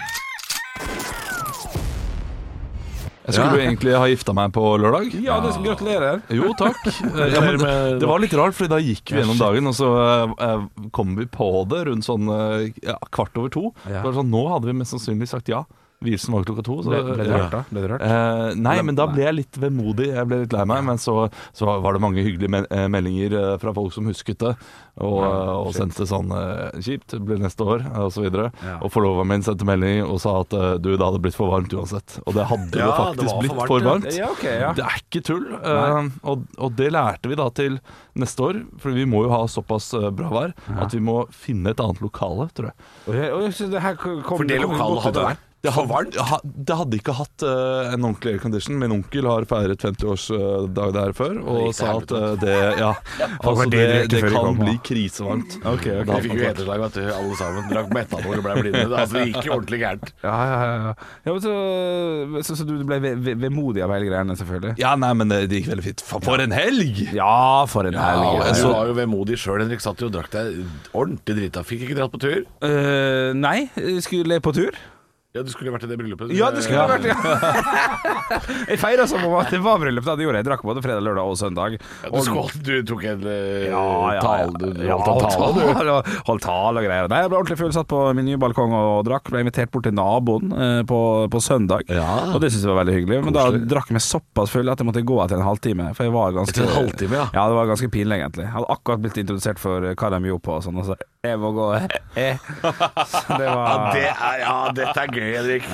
Speaker 3: Jeg skulle jo egentlig ha gifta meg på lørdag.
Speaker 5: Ja, det, gratulerer.
Speaker 3: Jo, takk. Eh, Ja, men det- det var litt rart, fordi da gikk vi gjennom dagen, og så eh, eh, kom vi på det rundt sånn eh, ja, kvart over to.
Speaker 5: Ja.
Speaker 3: Det var sånn, nå hadde vi mest sannsynlig sagt ja. Vielsen var klokka to. Så,
Speaker 5: Ble, ble det
Speaker 3: ja.
Speaker 5: rørt, da? Ble det rørt?
Speaker 3: Eh, nei, men da
Speaker 5: Nei.
Speaker 3: ble jeg litt vemodig. Jeg ble litt lei meg. Men så, så var det mange hyggelige me eh, meldinger eh, fra folk som husket det, og, og sendte sånn eh, 'kjipt, det blir neste år', eh, og så videre.
Speaker 5: Ja.
Speaker 3: Og forlova min sendte melding og sa at eh, du, det hadde blitt for varmt uansett. Og det hadde
Speaker 4: Ja,
Speaker 3: jo
Speaker 4: det
Speaker 3: faktisk
Speaker 4: var for
Speaker 3: blitt
Speaker 4: varmt,
Speaker 3: for
Speaker 4: ja.
Speaker 3: varmt.
Speaker 5: Ja, ok, ja.
Speaker 3: Det er ikke tull. Eh, og, og det lærte vi da til neste år, for vi må jo ha såpass eh, bra vær at vi må finne et annet lokale, tror jeg.
Speaker 5: Og jeg- og jeg synes det her kom- kom-
Speaker 4: For det
Speaker 5: kom
Speaker 4: lokalet
Speaker 5: godt ut
Speaker 4: hadde
Speaker 5: av det.
Speaker 4: vært for varmt.
Speaker 3: ha, det hadde ikke hatt eh, en ordentlig aircondition. Min onkel har feiret 50-årsdag der før og
Speaker 4: gikk til
Speaker 3: sa at eh, det Ja,
Speaker 5: var
Speaker 3: altså det,
Speaker 5: det direkte
Speaker 3: det
Speaker 5: før vi
Speaker 3: kan
Speaker 5: kom,
Speaker 3: bli
Speaker 5: da.
Speaker 3: krisevarmt.
Speaker 5: Ok, ok.
Speaker 4: Vi fikk jo hederslag, vet du, alle sammen. Drakk metanol og ble blinde. Altså, det gikk jo ordentlig gærent.
Speaker 5: Ja, ja, ja, ja. ja men så, så, så du ble ve- ve- vemodig av hele greiene, selvfølgelig?
Speaker 3: Ja, nei, men det, det gikk veldig fint. For, for en helg!
Speaker 5: Ja, for en
Speaker 4: Ja,
Speaker 5: helg.
Speaker 4: du
Speaker 5: Så-
Speaker 4: var jo vemodig sjøl, Henrik. Satt jo og drakk deg ordentlig drita. Fikk ikke dratt på tur.
Speaker 5: Eh, nei, skulle på tur?
Speaker 4: Ja, du skulle vært i det bryllupet.
Speaker 5: Ja, det skulle vært Jeg feira som om at det var bryllup, da. Det gjorde jeg. Jeg drakk både fredag, lørdag og søndag.
Speaker 4: Ja, du, skål, du tok en eh,
Speaker 5: Ja, ja,
Speaker 4: tale, du, du
Speaker 5: ja,
Speaker 4: holdt en tale, du.
Speaker 5: tale, og- holdt tale og greier. Nei, jeg ble ordentlig full, satt på min nye balkong og drakk. Ble invitert bort til naboen eh, på, på søndag,
Speaker 4: Ja.
Speaker 5: og det syntes jeg var veldig hyggelig. Men da drakk jeg meg såpass full at jeg måtte gå etter en halvtime. For jeg var ganske
Speaker 4: Etter en halvtime, ja.
Speaker 5: Ja, det var ganske pinlig, egentlig. Jeg hadde akkurat blitt introdusert for eh, hva de gjorde på og sånn, og så Jeg må gå, eh. Så det
Speaker 4: Ja,
Speaker 5: var
Speaker 4: det er, ja, dette er gøy, Henrik.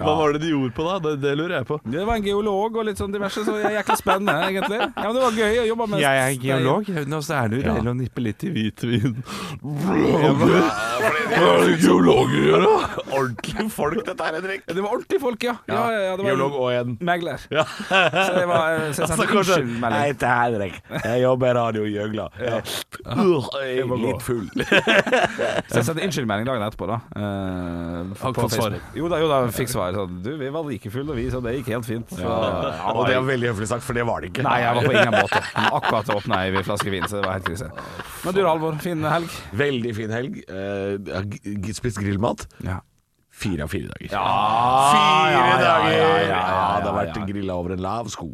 Speaker 3: Hva var det de gjorde på da? Det, det lurer jeg på.
Speaker 5: det var en geolog og litt sånn diverse, så det er jækla spennende, egentlig. Ja, men det var gøy å jobbe med
Speaker 3: og så er det jo
Speaker 5: deilig
Speaker 3: å nippe litt i hvitvin. Hva er det geologer gjør, da?
Speaker 4: Ordentlige folk, dette her, Henrik.
Speaker 5: Det var ordentlige folk, ja. ja, ja, ja det var
Speaker 4: Geolog og en
Speaker 5: Megler.
Speaker 4: ja. Altså,
Speaker 5: Så det var eh, så jeg sendte
Speaker 4: Hei
Speaker 5: unnskyldmelding.
Speaker 4: til Henrik. Jeg jobber i Radio Gjøgla. Ja. Uh, jeg er litt full.
Speaker 5: Så jeg sendte unnskyldmelding dagen etterpå, da. eh,
Speaker 3: Har ikke
Speaker 5: på
Speaker 3: fått svar.
Speaker 5: Facebook. Jo da, jo da, fikk svar. Sånn, du, vi var like fulle, og vi, så det gikk helt fint. Så,
Speaker 4: Ja, og det er veldig høflig sagt, for det var det ikke.
Speaker 5: Nei, jeg var på ingen båt. Men Akkurat åpna ei flaske vin, så det var helt krise. Men du, Alvor, fin helg.
Speaker 4: Veldig fin helg. Eh, jeg har g- g- spist grillmat.
Speaker 5: Ja.
Speaker 4: Fire av fire dager.
Speaker 5: Ah,
Speaker 4: Fire
Speaker 5: ja, ja,
Speaker 4: dager!
Speaker 5: ja,
Speaker 4: Ja,
Speaker 5: ja, ja, ja,
Speaker 4: det har vært
Speaker 5: ja.
Speaker 4: grilla over en lav sko.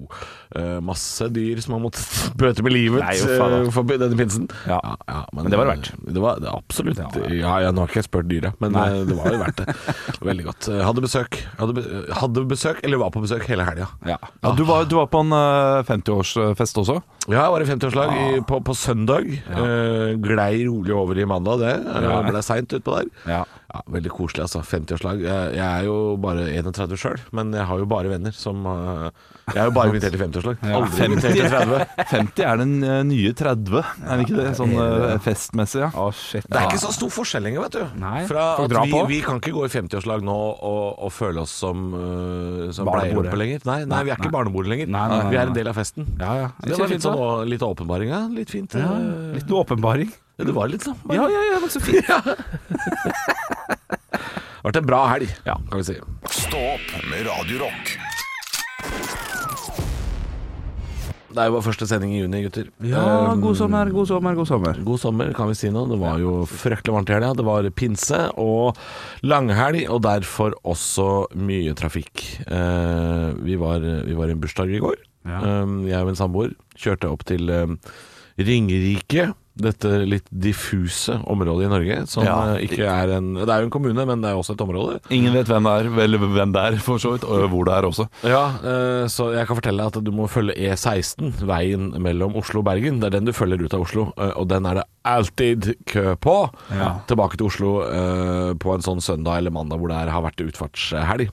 Speaker 4: Eh, masse dyr som har måttet bøte med livet
Speaker 5: Nei, jo, faen, da.
Speaker 4: eh, for denne pinsen.
Speaker 5: Ja.
Speaker 4: men, eh,
Speaker 5: det var det verdt.
Speaker 4: Det var det, absolutt. Ja,
Speaker 5: Ja, ja.
Speaker 4: ja, nå har ikke jeg spurt dyra, men
Speaker 5: Nei.
Speaker 4: eh, det var jo verdt det. Veldig godt. Eh, hadde besøk. Hadde, be- eh, hadde besøk, eller var på besøk hele helga.
Speaker 5: Ja.
Speaker 3: Ja, du, var, du var på en eh, 50-årsfest også?
Speaker 4: Ja, jeg var i 50-årslag
Speaker 5: Ah.
Speaker 4: i- på, på søndag. Eh, glei rolig over i mandag, det. Ja. Ble seint utpå der.
Speaker 5: Ja.
Speaker 4: Ja, veldig koselig, altså. 50
Speaker 6: bursdagslag. Jeg, jeg er jo bare 31 sjøl, men jeg har jo bare venner som eh, Jeg er jo bare invitert til 50-årslag. Aldri invitert til 30.
Speaker 3: 50 er den eh, nye 30, er det ikke det? Sånn eh, festmessig, ja.
Speaker 5: Å, shit.
Speaker 6: Det er ikke så stor forskjell lenger, vet du.
Speaker 5: Nei,
Speaker 6: Fra
Speaker 5: folk
Speaker 6: at
Speaker 5: drar
Speaker 6: vi,
Speaker 5: på.
Speaker 6: vi kan ikke gå i 50-årslag nå og, og føle oss som, uh, som
Speaker 5: Barnebore.
Speaker 6: bleieroppe lenger. Nei, nei, vi er ikke barnebord lenger.
Speaker 5: Nei, nei, nei,
Speaker 6: vi er
Speaker 5: nei.
Speaker 6: en del av festen.
Speaker 5: Ja, ja.
Speaker 6: Så Det var litt sånn å- litt åpenbaring, ja. Litt fint. eh,
Speaker 5: Litt åpenbaring.
Speaker 6: ja, det var litt sånn. bare-
Speaker 5: Ja, ja, ja, men så fint.
Speaker 6: Det har vært en bra helg, kan vi si.
Speaker 1: Stå opp med Radio Rock.
Speaker 6: Det er jo vår første sending i juni, gutter.
Speaker 5: Ja,
Speaker 6: Um,
Speaker 5: god sommer, god sommer, god sommer.
Speaker 6: God sommer, kan vi si nå. Det var jo fryktelig varmt i helga. Det var pinse og langhelg, og derfor også mye trafikk. Eh, vi, var, vi var i en bursdag i går. Eh, jeg og min samboer kjørte opp til eh, Ringerike. Dette litt diffuse området i Norge, som
Speaker 3: Ja.
Speaker 6: eh, ikke er en Det er jo en kommune, men det er jo også et område.
Speaker 3: Ingen vet hvem det er, vel hvem det er for så vidt, og hvor det er også.
Speaker 6: Ja, eh, så jeg kan fortelle deg at du må følge E16, veien mellom Oslo og Bergen. Det er den du følger ut av Oslo, eh, og den er det alltid kø på. Tilbake til Oslo eh, på en sånn søndag eller mandag hvor det er, har vært utfartshelg.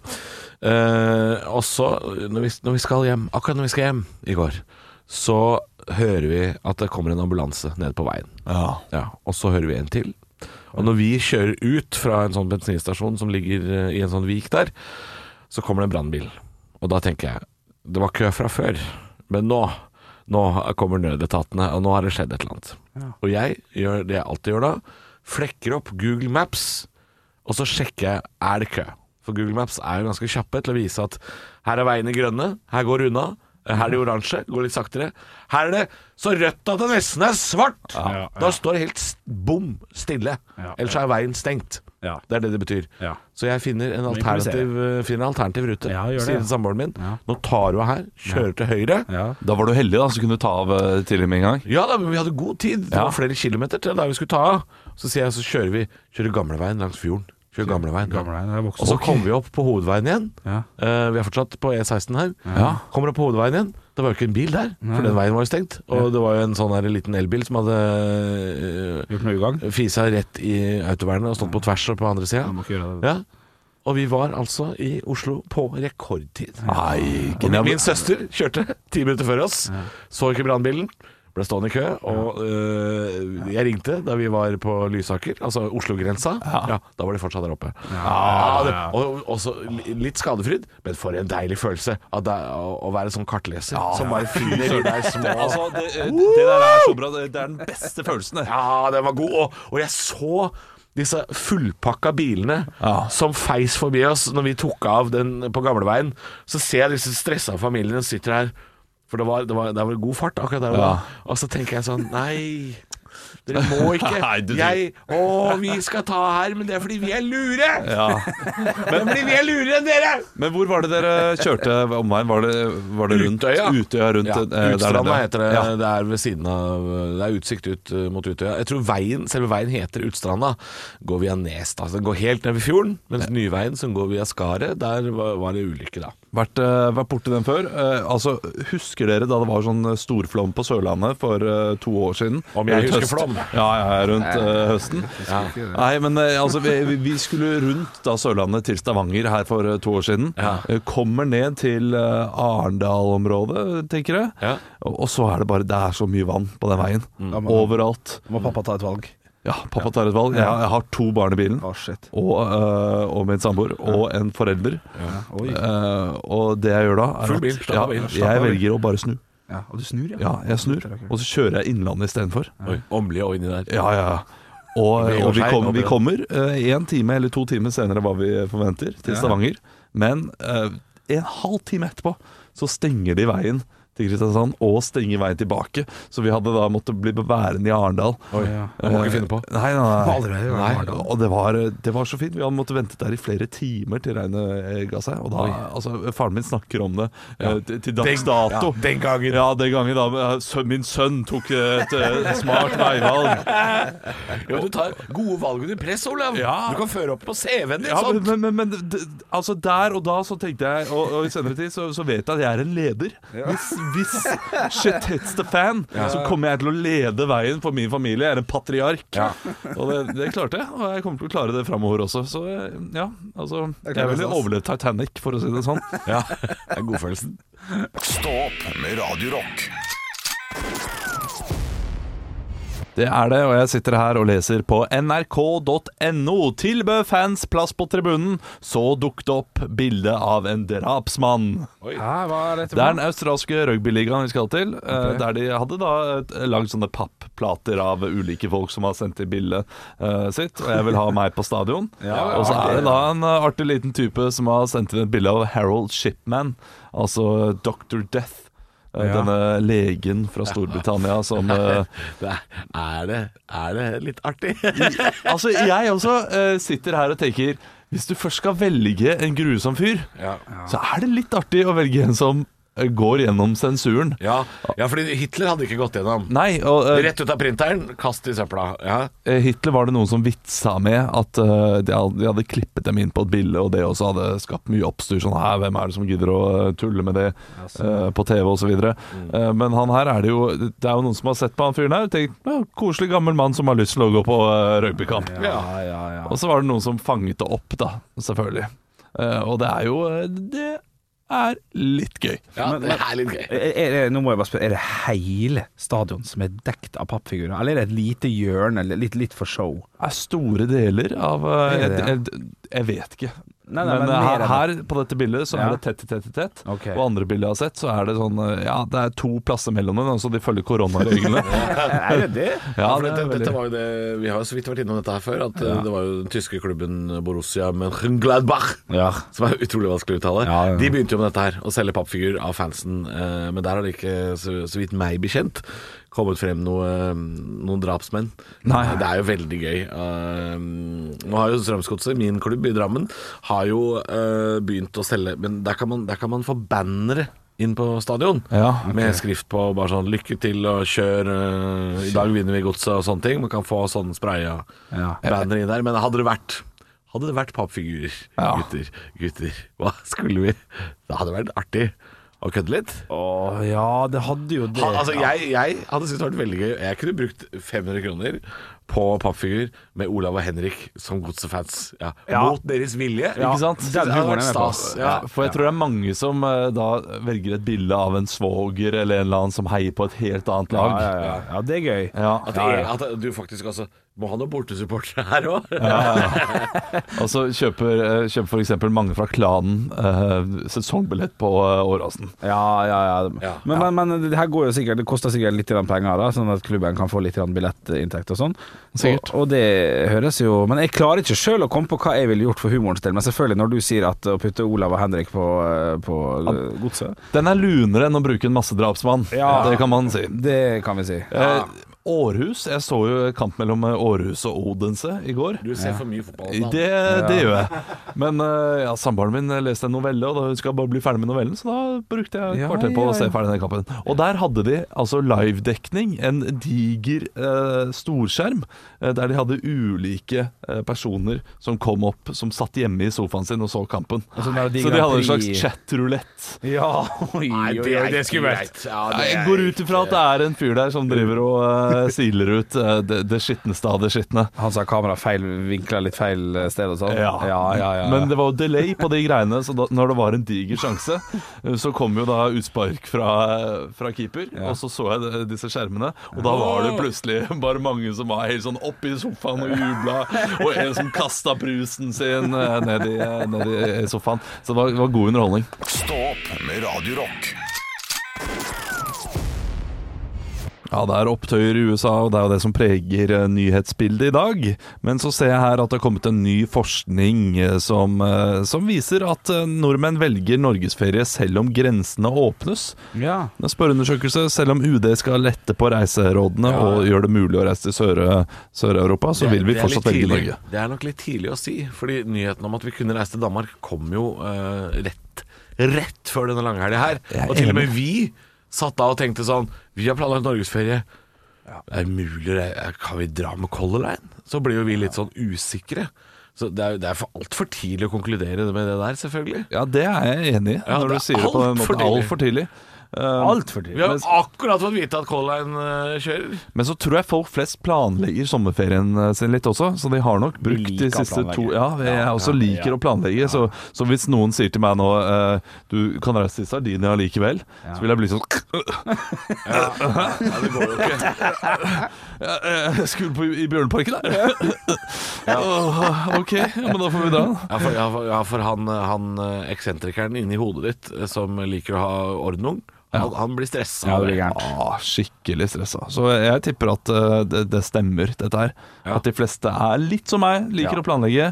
Speaker 6: Eh, Og så, når vi, når vi skal hjem, akkurat når vi skal hjem i går, så hører vi at det kommer en ambulanse nede på veien.
Speaker 3: Ja.
Speaker 6: Ja, og så hører vi en til. Og når vi kjører ut fra en sånn bensinstasjon som ligger eh, i en sånn vik der, så kommer det en brannbil. Og da tenker jeg Det var kø fra før, men nå Nå kommer nødetatene, og nå har det skjedd et eller annet. Og jeg gjør det jeg alltid gjør da. Flekker opp Google Maps, og så sjekker jeg er det kø. For Google Maps er jo ganske kjappe til å vise at her er veiene grønne, her går det unna. eh, Her er det oransje, går litt saktere. Her er det så rødt at det nesten er svart! Da står det helt s- bom stille. Ellers er veien stengt.
Speaker 5: Ja.
Speaker 6: Det er det det betyr.
Speaker 5: Ja.
Speaker 6: Så jeg finner en
Speaker 5: improviserer.
Speaker 6: alternativ, eh, finner en alternativ rute.
Speaker 5: Ja, gjør det,
Speaker 6: Sier til
Speaker 5: ja.
Speaker 6: samboeren min
Speaker 5: Ja.
Speaker 6: Nå tar du av her, kjører til høyre.
Speaker 5: Ja.
Speaker 3: Da var du heldig, da, så kunne du ta av eh, tidlig med en gang.
Speaker 6: Ja da, men vi hadde god tid. Det
Speaker 3: Ja.
Speaker 6: var flere kilometer til der vi skulle ta av. Så sier jeg, så kjører vi Kjører gamleveien langs fjorden. Kjører gamleveien.
Speaker 5: Gamleveien, det er voksen.
Speaker 6: Og så kom vi opp på hovedveien igjen.
Speaker 5: Ja.
Speaker 6: Eh, vi er fortsatt på E16 her.
Speaker 5: Ja.
Speaker 6: Kommer opp på hovedveien igjen. Det var jo ikke en bil der, for den veien var jo stengt. Og det var jo en sånn her liten elbil som hadde eh,
Speaker 5: Gjort noe ugagn?
Speaker 6: fisa rett i autovernet og stått på tvers og på andre sida.
Speaker 5: Du må ikke gjøre det.
Speaker 6: Ja. Og vi var altså i Oslo på rekordtid.
Speaker 3: Nei,
Speaker 6: Og min,
Speaker 3: genial.
Speaker 6: min søster kjørte ti minutter før oss. Så ikke brannbilen. Ble stående i kø. Og øh, jeg ringte da vi var på Lysaker, altså Oslo-grensa. Ja. da var de fortsatt der oppe. Ja, det, og også li- litt skadefryd, men for en deilig følelse at det, er å, å være sånn kartleser som bare finner de der små
Speaker 3: Altså, det, eh, det der er så bra. Det det er den beste følelsen, det.
Speaker 6: Ja, den var god. Og, og jeg så disse fullpakka bilene
Speaker 3: Ja.
Speaker 6: som feis forbi oss når vi tok av den på gamleveien. Så ser jeg disse stressa familiene som sitter her. For det var, det var, det var god fart akkurat der og da.
Speaker 3: Ja.
Speaker 6: Og så tenker jeg sånn Nei, dere må ikke.
Speaker 3: Nei, du-
Speaker 6: jeg, å, vi skal ta her, men det er fordi vi er lure.
Speaker 3: Ja.
Speaker 6: Det er fordi vi er lurere enn dere.
Speaker 3: Men hvor var det dere kjørte omveien? Var det, var det rundt
Speaker 6: Utøya.
Speaker 3: Utøya rundt
Speaker 6: Ja,
Speaker 3: eh, der
Speaker 6: Utstranda
Speaker 3: nede?
Speaker 6: heter det.
Speaker 3: Ja.
Speaker 6: Det er ved siden av Det er utsikt ut eh, mot Utøya. Jeg tror veien, selve veien heter Utstranda. Går via Nesta. Altså, den går helt ned ved fjorden. Mens nyveien som går via Skaret, der var, var det ulykke, da.
Speaker 3: Vært, eh, vært borti den før. Eh, altså, Husker dere da det var sånn eh, storflom på Sørlandet for eh, to år siden?
Speaker 6: Om
Speaker 3: Rundt
Speaker 6: jeg husker
Speaker 3: høst-
Speaker 6: flom?
Speaker 3: Ja, ja, rundt eh, høsten. Nei, men eh, altså, vi, vi- vi skulle rundt da Sørlandet til Stavanger her for eh, to år siden.
Speaker 6: Ja.
Speaker 3: Eh, Kommer ned til eh, Arendal-området, tenker jeg.
Speaker 6: Ja.
Speaker 3: Og, og så er det bare Det er så mye vann på den veien.
Speaker 6: Mm.
Speaker 3: Overalt.
Speaker 5: Må pappa ta et valg?
Speaker 3: Ja, pappa tar et valg. Jeg, jeg har to barn i bilen.
Speaker 5: Å, shit.
Speaker 3: Og, øh, og min samboer. Og en forelder.
Speaker 5: Oi.
Speaker 3: Eh, og det jeg gjør da, er
Speaker 6: Full bil,
Speaker 3: at
Speaker 6: slapp av bil,
Speaker 3: ja,
Speaker 6: slapp av
Speaker 3: jeg
Speaker 6: bil.
Speaker 3: velger å bare snu.
Speaker 5: Ja, og du snur,
Speaker 3: Ja, jeg snur, og så kjører jeg Innlandet istedenfor.
Speaker 6: Oi, Åmli og inni der.
Speaker 3: Ja, ja, ja. Og,
Speaker 6: Det blir jo
Speaker 3: og vi
Speaker 6: feil,
Speaker 3: kommer,
Speaker 6: da
Speaker 3: vi
Speaker 6: blir det-
Speaker 3: kommer én time eller to timer senere hva vi forventer, til Stavanger. Men eh, en halv time etterpå så stenger de veien til Kristiansand, og stenger veien tilbake. Så vi hadde da måttet bli værende i Arendal. Eh,
Speaker 6: Oi,
Speaker 5: ja.
Speaker 6: Det må ikke finne på.
Speaker 3: Nei, nei, nei.
Speaker 5: Aldri vært i Arendal.
Speaker 3: nei og det var, det var så fint. Vi hadde måttet vente der i flere timer til regnet eh, ga seg. Og da, altså, faren min snakker om det eh, til- til dags dato.
Speaker 6: ja, den gangen.
Speaker 3: Ja, den gangen da eh, sø- min sønn tok et eh, smart veivalg.
Speaker 6: Ja, du tar gode valg under press, Olav.
Speaker 3: Ja.
Speaker 6: Du kan føre opp på CV-en din.
Speaker 3: Ja,
Speaker 6: sant?
Speaker 3: men, men, men d- altså der og da så tenkte jeg, og, og i senere tid så, så vet jeg at jeg er en leder. Hvis, hvis shit hits the fan, så kommer jeg til å lede veien for min familie. Jeg er en patriark. Og det, det klarte jeg, og jeg kommer til å klare det framover også. Så ja, altså Jeg ville overlevd Titanic, for å si det sånn.
Speaker 4: Ja, det er godfølelsen.
Speaker 1: Stå opp med Radio Rock.
Speaker 3: Det er det, og jeg sitter her og leser på nrk.no. Tilbød fans plass på tribunen, så dukket det opp bilde av en drapsmann.
Speaker 5: Hæ, hva er dette
Speaker 3: Det er den australske rugbyligaen vi skal til, eh, der de hadde da et- eh, lagd sånne pappplater av ulike folk som har sendt i bildet eh, sitt, og jeg vil ha meg på stadion. og så er det da en eh, artig liten type som har sendt inn et bilde av Harold Shipman, altså Dr. Death. eh, Denne legen fra Storbritannia som eh,
Speaker 4: Det er, er, det, er det litt artig?
Speaker 3: Altså, jeg også eh, sitter her og tenker Hvis du først skal velge en grusom fyr,
Speaker 4: Ja.
Speaker 3: så er det litt artig å velge en som eh, går gjennom sensuren.
Speaker 4: Ja, ja, fordi Hitler hadde ikke gått gjennom.
Speaker 3: Nei, og eh,
Speaker 4: Rett ut av printeren, kast i søpla. Ja.
Speaker 3: eh, Hitler var det noen som vitsa med at eh, de had- de hadde klippet dem inn på et bilde, og det også hadde skapt mye oppstyr. Sånn her, hvem er det som gidder å eh, tulle med det eh, på TV osv. videre Eh, men han her er det jo Det er jo noen som har sett på han fyren her og tenkt ja, koselig gammel mann som har lyst til å gå på eh, rugbykamp.
Speaker 5: Ja, ja, ja.
Speaker 3: Og så var det noen som fanget det opp, da, selvfølgelig. Eh, og det er jo eh, Det er litt gøy.
Speaker 4: ja, det er litt gøy.
Speaker 5: Er, er, det- nå må jeg bare spørre, er det hele stadion som er dekt av pappfigurer, eller er det et lite hjørne, eller litt, litt for show?
Speaker 3: Det er store deler av eh,
Speaker 5: Det er
Speaker 3: jeg,
Speaker 5: det, ja.
Speaker 3: jeg, jeg vet ikke.
Speaker 5: Nei, nei,
Speaker 3: men
Speaker 5: men
Speaker 3: eh,
Speaker 5: mer
Speaker 3: her,
Speaker 5: enn
Speaker 3: her på dette bildet så
Speaker 5: Ja.
Speaker 3: er det tett i tett i tett.
Speaker 5: Ok.
Speaker 3: Og andre bilder jeg har sett, så er det sånn eh, Ja, det er to plasser mellom dem, så de følger koronareglene.
Speaker 5: Er det det?
Speaker 3: Ja,
Speaker 4: For
Speaker 3: det
Speaker 4: dette,
Speaker 3: er
Speaker 4: dette
Speaker 3: veldig
Speaker 4: var jo det, vi har jo så vidt vært innom dette her før, at eh, det var jo den tyske klubben Borussia Mönchengladbach
Speaker 5: Ja.
Speaker 4: som er utrolig vanskelig å uttale.
Speaker 5: Ja, ja.
Speaker 4: De begynte jo med dette her, å selge pappfigur av fansen. eh, Men der har det ikke, så, så vidt meg bekjent, kommet frem noe, eh, noen drapsmenn.
Speaker 3: Nei.
Speaker 4: Det er jo veldig gøy. Eh, Nå har jo Strømsgodset, min klubb i Drammen, har jo eh, begynt å selge Men der kan man, der kan man få bannere inn på stadion.
Speaker 3: Ja, ok.
Speaker 4: Med skrift på bare sånn 'lykke til' og 'kjør', eh, 'i dag vinner vi godset' og sånne ting. Man kan få sånn spraya
Speaker 5: Ja.
Speaker 4: banner inn der. Men hadde det vært Hadde det vært pappfigurer,
Speaker 3: Ja.
Speaker 4: gutter, gutter, hva skulle vi Det hadde vært artig å kødde litt.
Speaker 5: Å ja, det hadde jo det.
Speaker 4: Ha, altså, jeg, jeg hadde syntes det hadde vært veldig gøy. Jeg kunne brukt 500 kroner på pappfigur med Olav og Henrik som godsefans. Ja.
Speaker 5: Ja.
Speaker 4: Mot deres vilje.
Speaker 5: Ja,
Speaker 4: Ikke sant?
Speaker 5: den
Speaker 4: det hadde
Speaker 5: humoren
Speaker 4: vært
Speaker 5: er jeg med på.
Speaker 4: stas. Ja.
Speaker 3: Ja, for jeg tror det er mange som eh, da velger et bilde av en svoger eller en eller annen som heier på et helt annet
Speaker 5: ja,
Speaker 3: lag.
Speaker 5: ja, ja. ja, det er gøy.
Speaker 3: Ja.
Speaker 4: At, at du faktisk
Speaker 6: altså,
Speaker 4: også Må ha noen bortesupportere her òg.
Speaker 3: Og så kjøper, eh, kjøper f.eks. mange fra klanen eh, sesongbillett på eh, Åråsen.
Speaker 5: Ja, ja, ja.
Speaker 4: Ja.
Speaker 5: Men, men, men det her går jo sikkert Det koster sikkert litt grann penger, da sånn at klubben kan få litt grann billettinntekt og sånn.
Speaker 3: Sikkert.
Speaker 5: Og, og det høres jo Men jeg klarer ikke sjøl å komme på hva jeg ville gjort for humorens del. Men selvfølgelig, når du sier at å putte Olav og Henrik på, eh, på eh, godset
Speaker 3: Den er lunere enn å bruke en massedrapsmann.
Speaker 5: Ja.
Speaker 3: Det kan man si.
Speaker 5: Det kan vi si.
Speaker 3: Eh, Århus Jeg så jo kamp mellom eh, Århus og Odense i går.
Speaker 4: Du ser for mye fotball.
Speaker 3: Det, det gjør jeg. Men eh, ja, samboeren min leste en novelle, og da hun skal bare bli ferdig med novellen, så da brukte jeg et
Speaker 5: Ja,
Speaker 3: kvarter på
Speaker 5: ja,
Speaker 3: å se
Speaker 5: ja.
Speaker 3: ferdig den kampen. Og der hadde de altså livedekning, en diger eh, storskjerm, eh, der de hadde ulike eh, personer som kom opp, som satt hjemme i sofaen sin og så kampen.
Speaker 5: Og sånn der de
Speaker 3: så de hadde en
Speaker 5: Grand
Speaker 3: slags
Speaker 5: Prix-
Speaker 3: chatrulett.
Speaker 5: Ja, oi,
Speaker 4: Nei,
Speaker 5: oi,
Speaker 4: det
Speaker 5: oi,
Speaker 4: er
Speaker 5: det er skummelt.
Speaker 4: greit. Ja, det
Speaker 3: Jeg
Speaker 4: er
Speaker 3: går ut ifra at det er en fyr der som driver og eh, siler ut eh, det, det skitneste av det skitne.
Speaker 5: Han sa kamera feil vinkla litt feil sted og sånn?
Speaker 3: Ja.
Speaker 5: ja, ja, ja.
Speaker 3: Men det var jo delay på de greiene, så da, når det var en diger sjanse, eh, så kom jo da utspark fra, fra keeper, og så så jeg de- disse skjermene, og da var det plutselig bare mange som var helt sånn oppi sofaen og jubla, og en som kasta brusen sin eh, ned i, ned i sofaen. Så det var, det var god underholdning.
Speaker 1: Stå opp med Radio Rock.
Speaker 3: Ja, det er opptøyer i USA, og det er jo det som preger eh, nyhetsbildet i dag. Men så ser jeg her at det har kommet en ny forskning eh, som, eh, som viser at eh, nordmenn velger norgesferie selv om grensene åpnes.
Speaker 5: ja.
Speaker 3: En spørreundersøkelse, selv om UD skal lette på reiserådene og gjøre det mulig å reise til Sør- Sør-Europa, så
Speaker 4: Det-
Speaker 3: vil vi
Speaker 4: det er
Speaker 3: fortsatt
Speaker 4: litt
Speaker 3: velge
Speaker 4: tidlig.
Speaker 3: Norge.
Speaker 4: Det er nok litt tidlig å si, fordi nyheten om at vi kunne reise til Danmark kom jo eh, rett, rett før denne langhelga her.
Speaker 3: Jeg er
Speaker 4: Og til og
Speaker 3: enig.
Speaker 4: med vi satt da og tenkte sånn Vi har planlagt norgesferie. Er det mulig det- Kan vi dra med Color Line? Så blir jo vi litt sånn usikre. Så det er, det er for altfor tidlig å konkludere med det der, selvfølgelig.
Speaker 3: Ja, det er jeg enig i,
Speaker 4: Ja,
Speaker 3: når
Speaker 4: det
Speaker 3: du
Speaker 4: er
Speaker 3: sier det på den
Speaker 4: alt for
Speaker 3: måten.
Speaker 4: tidlig.
Speaker 3: Altfor tidlig.
Speaker 5: Altfor dyrt.
Speaker 6: Vi har jo akkurat fått vite at Color Line eh, kjører.
Speaker 3: Men så tror jeg folk flest planlegger sommerferien eh, sin litt også, så de har nok brukt de
Speaker 5: Liker å
Speaker 3: siste to
Speaker 5: planlegge.
Speaker 3: Ja, jeg også liker å planlegge, så, så hvis noen sier til meg nå eh, Du kan reise til Sardinia likevel, så vil jeg bli sånn
Speaker 6: Nei, det går jo ikke.
Speaker 3: «Ja, eh, Jeg skulle på, i Bjørneparken, der. Åh, ok, ja, men da får vi dra.
Speaker 6: Ja, for, ja, for, ja, for han, eh, han eh, eksentrikeren inni hodet ditt eh, som liker å ha ordnung, han, han blir stressa.
Speaker 5: Ja,
Speaker 6: av
Speaker 5: det blir
Speaker 6: det.
Speaker 5: gærent.
Speaker 3: Ah, skikkelig stressa. Så jeg tipper at eh, det, det stemmer, dette her.
Speaker 6: Ja.
Speaker 3: At de fleste er litt som meg, liker
Speaker 5: Ja.
Speaker 3: å planlegge.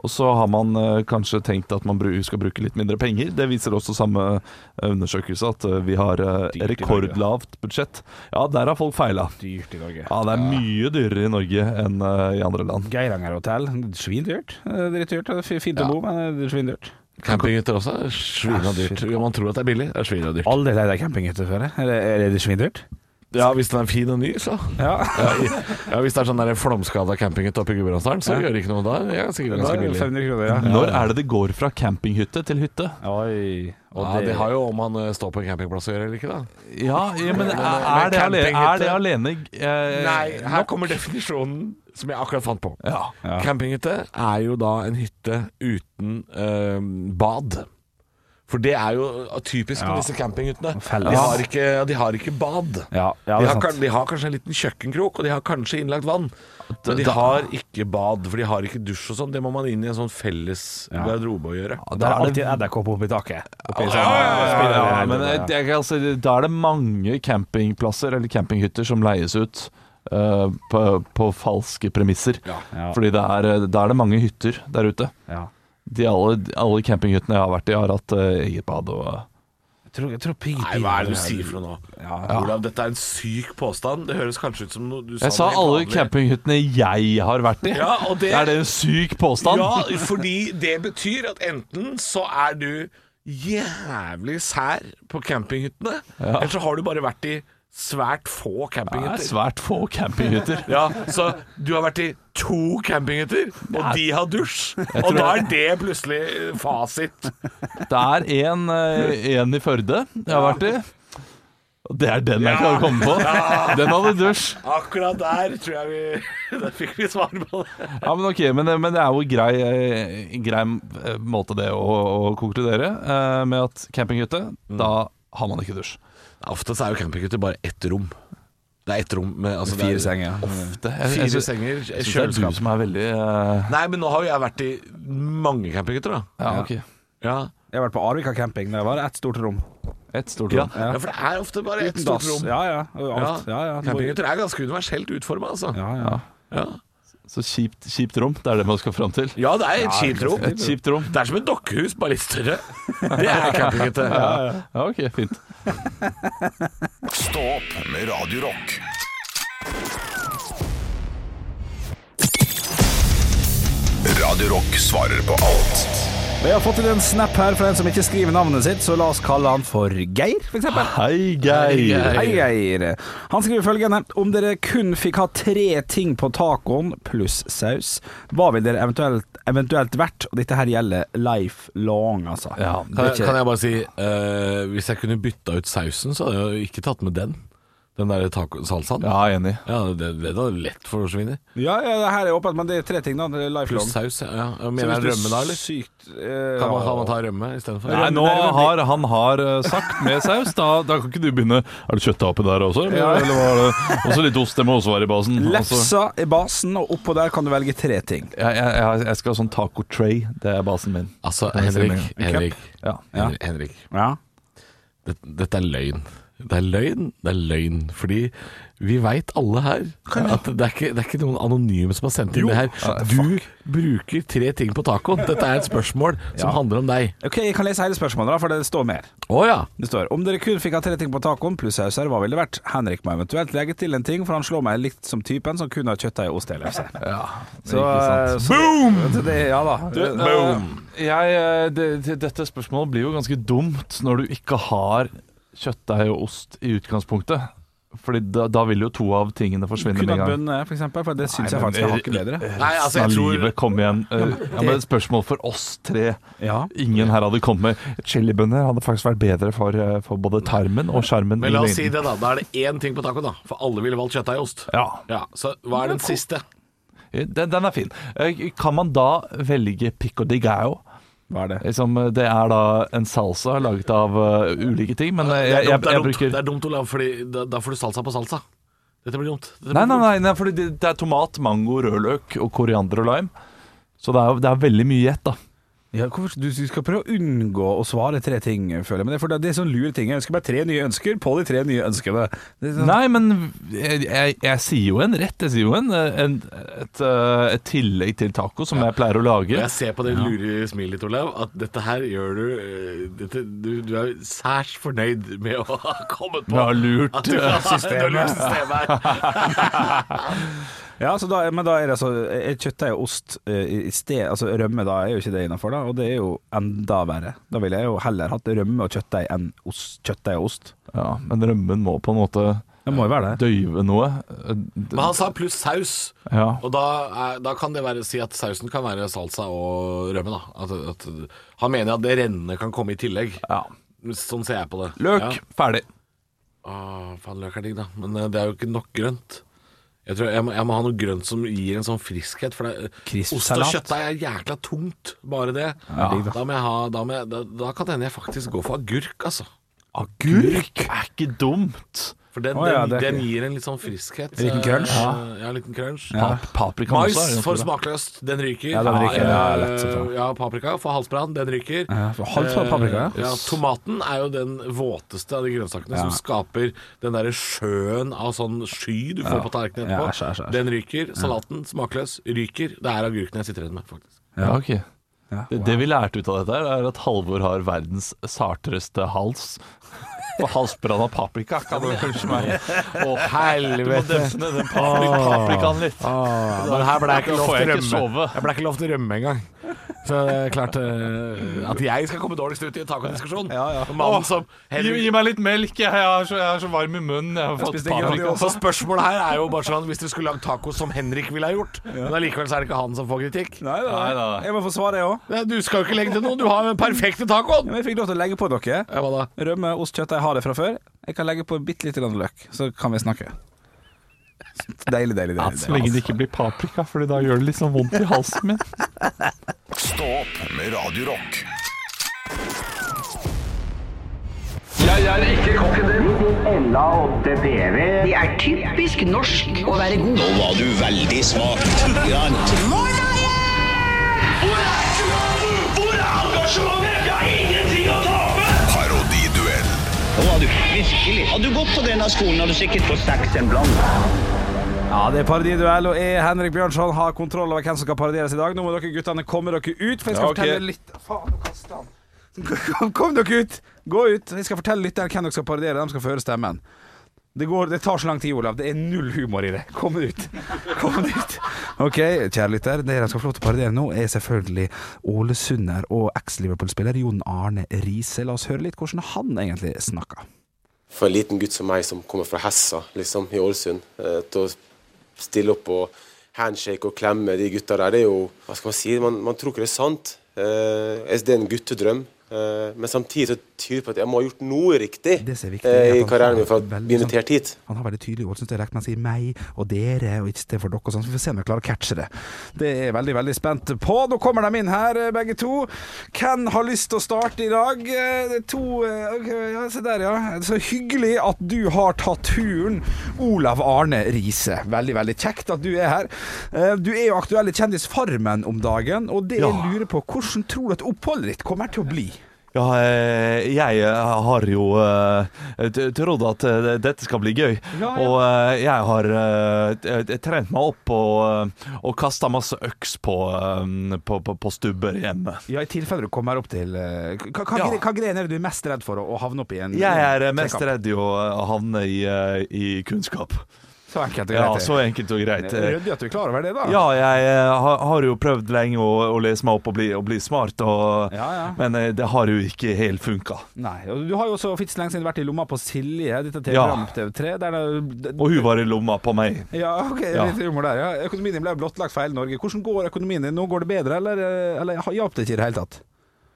Speaker 3: Og så har man eh, kanskje tenkt at man bru- skal bruke litt mindre penger. Det viser også samme eh, undersøkelse, at eh, vi har eh,
Speaker 5: Dyrt i Norge.
Speaker 3: rekordlavt budsjett. Ja, der har folk feila.
Speaker 5: Dyrt i Norge.
Speaker 3: Ja, det er mye dyrere i Norge enn eh, i andre land.
Speaker 5: Geiranger hotell, svindyrt. Eh, Drittdyrt. Det er fi- Fint å
Speaker 6: Ja.
Speaker 5: bo, men det er svindyrt.
Speaker 6: Campinghytter også er svina dyrt. Jo, man tror at det er billig, det er svina dyrt.
Speaker 5: Aldri leid ei campinghytte før. jeg. Er det- Er det svindyrt?
Speaker 6: Ja, hvis den er fin og ny, så.
Speaker 5: Ja.
Speaker 6: Ja, i- ja, hvis det er sånn der flomskada campinghytte oppe i Gudbrandsdalen, så
Speaker 5: Ja.
Speaker 6: gjør det ikke noe. Da er det sikkert
Speaker 5: Da
Speaker 6: ganske
Speaker 5: er det
Speaker 6: billig.
Speaker 5: 500 kroner, ja.
Speaker 3: Når er det det går fra campinghytte til hytte?
Speaker 5: Oi. Og
Speaker 6: Ja, det har jo om han eh, står på en campingplass å gjøre eller ikke, da.
Speaker 3: Ja, ja men er, er,
Speaker 6: men
Speaker 3: det, alene,
Speaker 6: campinghytte-
Speaker 3: er det alene eh,
Speaker 6: her kommer definisjonen som jeg akkurat fant på.
Speaker 3: Ja.
Speaker 5: Ja.
Speaker 6: Campinghytte er jo da en hytte uten eh, bad. For det er jo typisk
Speaker 5: Ja.
Speaker 6: med disse campinghyttene.
Speaker 5: Felles.
Speaker 6: De har, ikke, de har ikke bad.
Speaker 5: Ja, ja,
Speaker 6: De
Speaker 5: det er
Speaker 6: har, kan-
Speaker 5: sant.
Speaker 6: de har kanskje en liten kjøkkenkrok, og de har kanskje innlagt vann. Men de
Speaker 3: Da-
Speaker 6: har ikke bad, for de har ikke dusj og sånn. Det må man inn i en sånn felles garderobe å gjøre.
Speaker 5: Det er
Speaker 3: Da er
Speaker 5: alltid
Speaker 3: det-
Speaker 5: edderkopp oppi taket. Oppi sånn,
Speaker 3: Ja,
Speaker 5: spiller-
Speaker 3: men
Speaker 5: ja.
Speaker 3: jeg, jeg, altså, da er det mange campingplasser eller campinghytter som leies ut eh, på, på falske premisser.
Speaker 5: Ja.
Speaker 3: Fordi det er, eh, da er det mange hytter der ute.
Speaker 5: Ja.
Speaker 3: De alle, alle campinghyttene jeg har vært i, har hatt eh, eget bad og
Speaker 5: Jeg tror, jeg tror pi-
Speaker 6: Nei, hva er det du sier for noe nå?
Speaker 5: Ja.
Speaker 6: Olav, dette er en syk påstand. Det høres kanskje ut som noe du
Speaker 3: Jeg sa
Speaker 6: helt
Speaker 3: alle
Speaker 6: vanlig.
Speaker 3: campinghyttene jeg har vært i.
Speaker 6: Ja, og det-
Speaker 3: Er det en syk påstand?
Speaker 6: Ja, fordi det betyr at enten så er du jævlig sær på campinghyttene, eller så har du bare vært i svært få
Speaker 3: Det er
Speaker 6: campinghytter.
Speaker 3: svært få campinghytter.
Speaker 6: Ja, så du har vært i to campinghytter, og de har dusj. Og
Speaker 3: tror
Speaker 6: da
Speaker 3: jeg-
Speaker 6: er det plutselig fasit.
Speaker 3: Det er én eh, i Førde jeg har vært i. Og det er den jeg kan komme på. Den hadde dusj.
Speaker 6: Akkurat der tror jeg vi Der fikk vi svar på det.
Speaker 3: Ja, men ok, men, men det er jo grei, eh, grei eh, måte det å, å konkludere eh, med at campinghytte,
Speaker 6: Mm.
Speaker 3: da har man ikke dusj.
Speaker 6: Ofte så er jo campinghytter bare ett rom. Det er ett rom med altså, det er-
Speaker 5: Fire senger.
Speaker 3: Det,
Speaker 6: Fire
Speaker 3: synes-
Speaker 6: senger,
Speaker 3: jeg synes Det er
Speaker 6: kjøleskap.
Speaker 3: du som er veldig eh,
Speaker 6: Nei, men nå har jo jeg vært i mange campinghytter, da.
Speaker 3: Ja, ok.
Speaker 6: Ja.
Speaker 5: Jeg har vært på Arvika camping. Der var det ett stort rom.
Speaker 3: Et stort
Speaker 6: Ja.
Speaker 3: rom.
Speaker 5: Ja.
Speaker 6: for det er ofte bare ett
Speaker 5: Uten
Speaker 6: stort
Speaker 5: dass.
Speaker 6: rom.
Speaker 5: Ja, ja. og Alt. Ja, ja.
Speaker 6: Campinghytter er ganske universelt utforma, altså.
Speaker 5: Ja, ja.
Speaker 6: Ja.
Speaker 3: Så kjipt, kjipt rom, det er det man skal fram til.
Speaker 6: Ja, det er et kjipt rom.
Speaker 3: Et kjipt rom.
Speaker 6: Det er som et dokkehus, bare litt større. Det er campinghytte.
Speaker 3: Ja, ok, fint.
Speaker 1: Stå opp med Radio Rock. Radio Rock svarer på alt
Speaker 5: Vi har fått inn en snap her fra en som ikke skriver navnet sitt, så la oss kalle han for Geir, for eksempel.
Speaker 3: Hei, Geir.
Speaker 5: Hei, Geir. Han skriver følgende Om dere kun fikk ha tre ting på tacoen pluss saus, hva ville dere eventuelt, eventuelt vært? Og dette her gjelder life long, altså.
Speaker 3: Ja,
Speaker 5: Det
Speaker 6: Kan,
Speaker 5: er
Speaker 6: jeg,
Speaker 5: ikke-
Speaker 6: kan jeg bare si eh, Hvis jeg kunne bytta ut sausen, så hadde jeg jo ikke tatt med den. Den der taco- salsaen.
Speaker 3: Ja, enig.
Speaker 6: Ja, det, det er da lett for å forsvinne.
Speaker 5: ja, ja, det her er åpent, men det er tre ting, da. Det er Life long.
Speaker 6: Pluss saus. Ja. Ja. Mener jeg rømme da, eller?
Speaker 5: Sykt eh,
Speaker 6: Kan man, kan man ta rømme istedenfor?
Speaker 3: Nei, nå har han har eh, sagt med saus, da, da kan ikke du begynne Er det kjøttet oppi der også?
Speaker 5: Ja.
Speaker 3: Eller, eller var det også litt ost? Det må også være i basen. Altså-
Speaker 5: Lefsa i basen, og oppå der kan du velge tre ting.
Speaker 3: Jeg, jeg, jeg- jeg skal ha sånn taco tray. Det er basen min.
Speaker 6: Altså,
Speaker 3: jeg si
Speaker 6: Henrik,
Speaker 3: med
Speaker 5: en gang?
Speaker 6: Henrik,
Speaker 3: Ja.
Speaker 6: Henrik, Henrik.
Speaker 5: Ja.
Speaker 6: Dette, dette er løgn. Det er løgn, det er løgn. Fordi vi veit alle her at det er, ikke, det er ikke noen anonyme som har sendt inn det her. Du bruker tre ting på tacoen. Dette er et spørsmål som handler om deg.
Speaker 5: Ok, Jeg kan lese hele spørsmålet, da, for det står mer.
Speaker 6: Å ja.
Speaker 5: Det står Om dere kun fikk ha tre ting på tacoen pluss sauser, hva ville det vært? Henrik må eventuelt legge til en ting, for han slår meg litt som typen som kun har kjøttdeig, ost eller lefse. Så, eh, så, Boom! Så det, ja da.
Speaker 3: jeg, eh, det, det, dette spørsmålet blir jo ganske dumt når du ikke har kjøttdeig og ost i utgangspunktet. Fordi da, da vil jo to av tingene forsvinne med
Speaker 5: Kunne
Speaker 3: en
Speaker 5: hatt
Speaker 3: gang.
Speaker 5: bønn, eh, for eksempel, for det eh, syns jeg faktisk er hakket bedre.
Speaker 6: Nei, altså, jeg
Speaker 3: Resten av
Speaker 6: tror-
Speaker 3: livet, kom igjen. Eh, Ja, men et spørsmål for oss tre.
Speaker 5: Ja.
Speaker 3: Ingen her hadde kommet med Chilibønner hadde faktisk vært bedre for, eh, for både tarmen og skjermen.
Speaker 6: Men
Speaker 3: i
Speaker 6: la oss si
Speaker 3: lengden.
Speaker 6: det, da. Da er det én ting på tacoen, da. For alle ville valgt kjøttdeigost.
Speaker 3: Ja.
Speaker 6: Ja, så hva er den siste?
Speaker 3: Den, den er fin. Eh, Kan man da velge pico de gallo?
Speaker 5: Hva er det?
Speaker 3: Liksom, eh, det er da en salsa laget av eh, ulike ting, men eh,
Speaker 6: Det
Speaker 3: jeg,
Speaker 6: er
Speaker 3: jeg,
Speaker 6: dumt, det er
Speaker 3: jeg
Speaker 6: dumt,
Speaker 3: bruker
Speaker 6: det er dumt Olav, fordi da, da får du salsa på salsa. Dette blir dumt. Dette blir
Speaker 3: Nei, nei,
Speaker 6: dumt.
Speaker 3: nei, nei for det, det er tomat, mango, rødløk og koriander og lime. Så det er, jo- det er veldig mye gjett, da.
Speaker 5: Ja, hvorfor, du skal prøve å unngå å svare tre ting, føler jeg. Men det er, for det er sånn lure ting. Jeg ønsker meg tre nye ønsker på de tre nye ønskene. Det er sånn,
Speaker 3: Nei, men jeg, jeg, jeg sier jo en rett. Jeg sier jo en, en, et, eh, et tillegg til taco som jeg pleier å
Speaker 6: Og
Speaker 3: lage.
Speaker 6: Jeg ser på det lure smilet ditt, Olav, at dette her gjør du eh, dette, du, du er særs fornøyd med å ha kommet på
Speaker 3: Jeg har lurt,
Speaker 6: at du, du har lurt systemet her.
Speaker 5: Ja, så da, men da er det altså er kjøttdeig og ost eh, i sted Altså rømme, da er jo ikke det innafor, da. Og det er jo enda verre. Da ville jeg jo heller hatt rømme og kjøttdeig enn ost, kjøttdeig og ost.
Speaker 3: Ja, men rømmen må på en måte
Speaker 5: Det må jo være det.
Speaker 3: døyve noe. Eh, d-
Speaker 6: Men han sa pluss saus,
Speaker 3: Ja.
Speaker 6: og da, er, da kan det være si at sausen kan være salsa og rømme, da. At, at, han mener at det rennende kan komme i tillegg.
Speaker 3: ja.
Speaker 6: Sånn ser jeg på det. Ja.
Speaker 3: Løk, ferdig.
Speaker 6: Åh, faen, løk er digg, da. Men eh, det er jo ikke nok grønt. Jeg, tror jeg, må, jeg må ha noe grønt som gir en sånn friskhet. For det, er-
Speaker 5: Crisp
Speaker 6: ost og
Speaker 5: salat.
Speaker 6: kjøttdeig er jækla tungt, bare det.
Speaker 5: digg, da.
Speaker 6: Da, må jeg ha, da, må jeg, da, da kan det hende jeg faktisk går for agurk, altså.
Speaker 3: Agurk er ikke dumt.
Speaker 6: For den,
Speaker 5: Å, ja,
Speaker 6: den,
Speaker 5: det er
Speaker 6: den
Speaker 5: ikke-
Speaker 6: gir en litt sånn friskhet.
Speaker 5: En liten crunch.
Speaker 6: Eh, Ja, en liten crunch.
Speaker 3: Pap paprika
Speaker 6: Mais
Speaker 3: også er jo
Speaker 6: for
Speaker 3: bra.
Speaker 6: smakløst, den ryker.
Speaker 5: Ja, den ryker.
Speaker 6: Ja,
Speaker 5: Ja, lett, selvfølgelig.
Speaker 6: ja, paprika for halsbrann, den ryker.
Speaker 5: Ja, for halvt fra paprika, ja.
Speaker 6: Eh, ja. Tomaten er jo den våteste av de grønnsakene som skaper den derre sjøen av sånn sky du får på tallerkenen
Speaker 5: Ja,
Speaker 6: etterpå.
Speaker 5: æsj, æsj, æsj.
Speaker 6: Den ryker. Salaten, smakløs, ryker. Det er agurken jeg sitter igjen med, faktisk.
Speaker 3: Ja, ok.
Speaker 5: Ja,
Speaker 3: Det, det vi lærte ut av dette, her er at Halvor har verdens sartreste hals. Og halsbrann av paprika, kan du kanskje meg. Å, du må
Speaker 6: Helvete.
Speaker 3: dempe ned den papri- paprikaen litt.
Speaker 6: Men her ble jeg
Speaker 3: Da
Speaker 6: ikke lov
Speaker 3: får jeg
Speaker 6: til
Speaker 3: ikke
Speaker 6: å rømme.
Speaker 3: sove.
Speaker 6: Jeg ble ikke lov til å rømme engang. Så det er klart eh, at jeg skal komme dårligst ut i en tacodiskusjon. Mannen som
Speaker 3: Gi, gi meg litt melk, jeg, jeg, er så, jeg er så varm i munnen. Jeg har fått
Speaker 5: spiste
Speaker 3: paprika.
Speaker 6: Så spørsmålet her er jo bare sånn Hvis du skulle lagd taco som Henrik ville ha gjort, men allikevel så er det ikke han som får kritikk.
Speaker 5: Nei, da,
Speaker 3: Nei, da.
Speaker 5: Jeg må få svare, jeg òg.
Speaker 6: Nei, Du skal jo ikke legge til noe, du har jo den perfekte tacoen!
Speaker 5: Men jeg fikk lov til å legge på dere.
Speaker 6: Ja, hva da?
Speaker 5: Rømme, ost, kjøttdeig har det fra før. Jeg kan legge på bitte lite grann løk, så kan vi snakke. Deilig, deilig, deilig.
Speaker 3: Så lenge det ikke blir paprika, Fordi da gjør det litt sånn vondt i halsen min.
Speaker 1: Stå opp med Radio Rock.
Speaker 7: Jeg er ikke kokken din.
Speaker 8: Ella og DDV.
Speaker 9: Det er typisk norsk å være god.
Speaker 10: Nå var du veldig smak. Grann.
Speaker 7: Hvor er engasjementet? Hvor er engasjementet? Jeg har ingenting å tape!
Speaker 1: Parodiduell.
Speaker 10: Nå var du virkelig. Hadde du gått på denne skolen, hadde du sikkert fått seks en blant.
Speaker 5: Ja, det er parodiduell, og jeg, Henrik Bjørnson, har kontroll over hvem som skal parodieres i dag. Nå må dere guttene komme dere ut, for jeg skal
Speaker 3: Ja, ok.
Speaker 5: fortelle litt Faen, nå kastet han. Kom, kom dere ut! Gå ut. Jeg skal fortelle lytteren hvem dere skal parodiere. De skal føre stemmen. Det, går, det tar så lang tid, Olav. Det er null humor i det. Kom ut. Kom ut. OK, kjære lytter. Det dere skal få lov til å parodiere nå, er selvfølgelig ålesunder og eks-Liverpool-spiller Jon Arne Riise. La oss høre litt hvordan han egentlig snakker.
Speaker 11: for en liten gutt som meg, som kommer fra Hessa liksom, i Ålesund, eh, til å stille opp og handshake og klemme de gutta der, det er jo Hva skal man si? Man, man tror ikke det er sant. Eh, altså, det er en guttedrøm. Eh, men samtidig så tyder det på at jeg må ha gjort noe riktig
Speaker 5: Det som er viktig, er
Speaker 11: eh, i
Speaker 5: at han
Speaker 11: karrieren min for
Speaker 5: er
Speaker 11: å
Speaker 5: veldig
Speaker 11: bli
Speaker 5: sånn-
Speaker 11: invitert hit.
Speaker 5: Han har veldig tydelig ord. Synes det er rett når han sier meg og dere og ikke stedet for dere og sånn. Så vi får se om jeg klarer å catche det. Det er jeg veldig, veldig spent på. Nå kommer de inn her, eh, begge to. Hvem har lyst til å starte i dag? Eh, Det er to eh, ok, ja, Se der, ja. Så hyggelig at du har tatt turen, Olav Arne Riise. Veldig, veldig kjekt at du er her. Eh, Du er jo aktuell i Kjendisfarmen om dagen, og det jeg lurer på, hvordan tror du at oppholdet ditt kommer til å bli?
Speaker 3: Ja, eh, jeg eh, har jo eh, t- trodd at eh, dette skal bli gøy.
Speaker 5: Ja, ja.
Speaker 3: Og eh, jeg har eh, t- t- trent meg opp og, eh, og kasta masse øks på, eh, på, på, på stubber hjemme.
Speaker 5: Ja, i tilfelle du kommer opp til eh, Hva, hva,
Speaker 3: Ja.
Speaker 5: gre- hva grener er det du er mest redd for å, å havne opp i? en
Speaker 3: Jeg er eh,
Speaker 5: en
Speaker 3: mest
Speaker 5: trekamp?
Speaker 3: redd i å havne i, eh, i kunnskap.
Speaker 5: Så enkelt og
Speaker 3: Ja,
Speaker 5: greit.
Speaker 3: så enkelt og greit.
Speaker 5: det er ryddig at du er klar over det, da.
Speaker 3: Ja, jeg eh, har, har jo prøvd lenge å, å lese meg opp og bli, og bli smart, og,
Speaker 5: Ja, ja.
Speaker 3: men eh, det har jo ikke helt funka.
Speaker 5: Nei, og Du har jo også fitts lenge siden vært i lomma på Silje, dette TV-programmet på TV3. Der det,
Speaker 3: Og hun var i lomma på meg.
Speaker 5: Ja, ok,
Speaker 3: Ja.
Speaker 5: litt humor der. Ja. Økonomien din ble jo blottlagt for hele Norge. Hvordan går økonomien din? Nå går det bedre, eller, eh, eller hjalp det ikke i det hele tatt?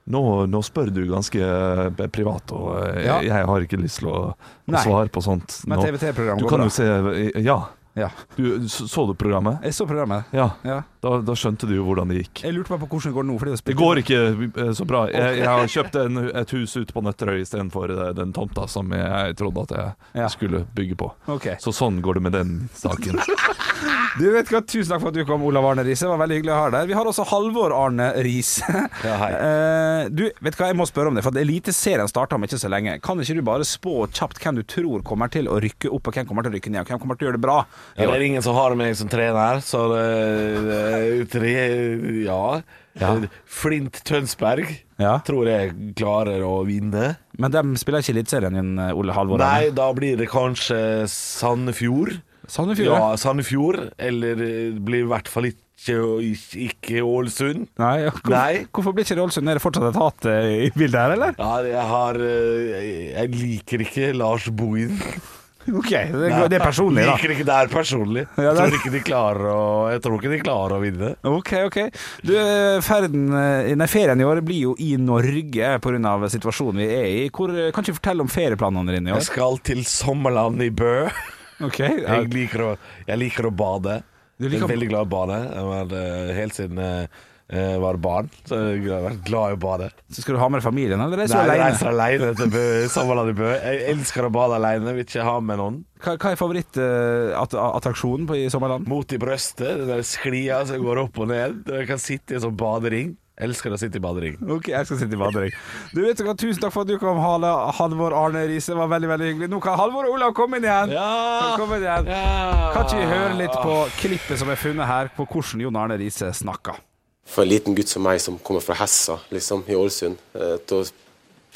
Speaker 3: Nå, nå spør du ganske eh, privat, og eh,
Speaker 5: Ja.
Speaker 3: jeg har ikke lyst til å, å
Speaker 5: Nei.
Speaker 3: svare på sånt.
Speaker 5: Men
Speaker 3: nå.
Speaker 5: TV3-program
Speaker 3: Du
Speaker 5: går
Speaker 3: kan
Speaker 5: bra.
Speaker 3: jo se eh, Ja.
Speaker 5: Ja.
Speaker 3: Du, så så du programmet?
Speaker 5: Jeg så programmet.
Speaker 3: Ja.
Speaker 5: Ja.
Speaker 3: Da, da skjønte du jo hvordan det gikk.
Speaker 5: Jeg lurte meg på hvordan det går nå. Fordi det,
Speaker 3: Det går ikke eh, så bra. Jeg, jeg har kjøpt en, et hus ute på Nøtterøy istedenfor eh, den tomta som jeg trodde at jeg
Speaker 5: Ja.
Speaker 3: skulle bygge på.
Speaker 5: Ok.
Speaker 3: Så sånn går det med den saken.
Speaker 5: Du vet hva, Tusen takk for at du kom, Olav Arne Riise. Det var veldig hyggelig å ha deg her. Vi har også Halvor Arne Riise. Eh, du, vet hva, jeg må spørre om det. For at Eliteserien starter om ikke så lenge. Kan ikke du bare spå kjapt hvem du tror kommer til å rykke opp, og hvem kommer til å rykke ned, og hvem kommer til å gjøre det bra?
Speaker 4: Ja, det er ingen som har meg som trener, så det, det, tre, ja. Flint Tønsberg
Speaker 5: Ja.
Speaker 4: tror jeg klarer å vinne.
Speaker 5: Men de spiller ikke Eliteserien din, eh, Ole Halvor
Speaker 4: Nei,
Speaker 5: Arne.
Speaker 4: da blir det kanskje Sandefjord.
Speaker 5: Sandefjord,
Speaker 4: Ja,
Speaker 5: ja.
Speaker 4: Sandefjord. Eller eh, blir i hvert fall ikke, ikke Ålesund.
Speaker 5: Nei, ja, hvorfor,
Speaker 4: Nei.
Speaker 5: hvorfor blir ikke det Ålesund? Er det fortsatt et hat eh, i bildet her, eller?
Speaker 4: Ja, jeg har eh, Jeg liker ikke Lars Bohin.
Speaker 5: Ok, det, det er personlig, da.
Speaker 4: Liker ikke det her personlig.
Speaker 5: Ja, det er-
Speaker 4: Tror ikke de klarer å, jeg tror ikke de klarer å vinne.
Speaker 5: Ok, ok. Du, eh, ferden, eh, nei, ferien i år blir jo i Norge pga. situasjonen vi er i. Hvor, eh, kan ikke du fortelle om ferieplanene dine i
Speaker 4: Jeg
Speaker 5: år?
Speaker 4: skal til Sommerland i Bø.
Speaker 5: Ok,
Speaker 4: Jeg liker å, jeg liker å bade.
Speaker 5: Du
Speaker 4: Jeg
Speaker 5: liker å-
Speaker 4: er veldig glad i å bade. Jeg var, eh, helt siden eh, jeg var barn, så jeg har vært glad i å bade.
Speaker 5: Så skal du ha med deg familien, eller reiser
Speaker 4: Nei,
Speaker 5: du
Speaker 4: jeg
Speaker 5: alene?
Speaker 4: reiser alene til Bø, Sommerland i Bø. Jeg elsker å bade alene, vil ikke ha med noen.
Speaker 5: Hva, hva er favorittattraksjonen i sommerland?
Speaker 4: Mot i brøstet, den der sklia som går opp og ned. Og Jeg kan sitte i en sånn badering. Jeg elsker å sitte i badering.
Speaker 5: Ok, jeg skal sitte i badering. Du vet hva, Tusen takk for at du kom, Hale, Halvor Arne Riise. Det var veldig veldig hyggelig. Nå kan Halvor og Olav komme inn igjen. Velkommen igjen. Kan ikke vi høre litt på klippet som er funnet her, på hvordan Jon Arne Riise snakker?
Speaker 11: For en liten gutt som meg, som kommer fra Hessa liksom, i Ålesund, eh, til å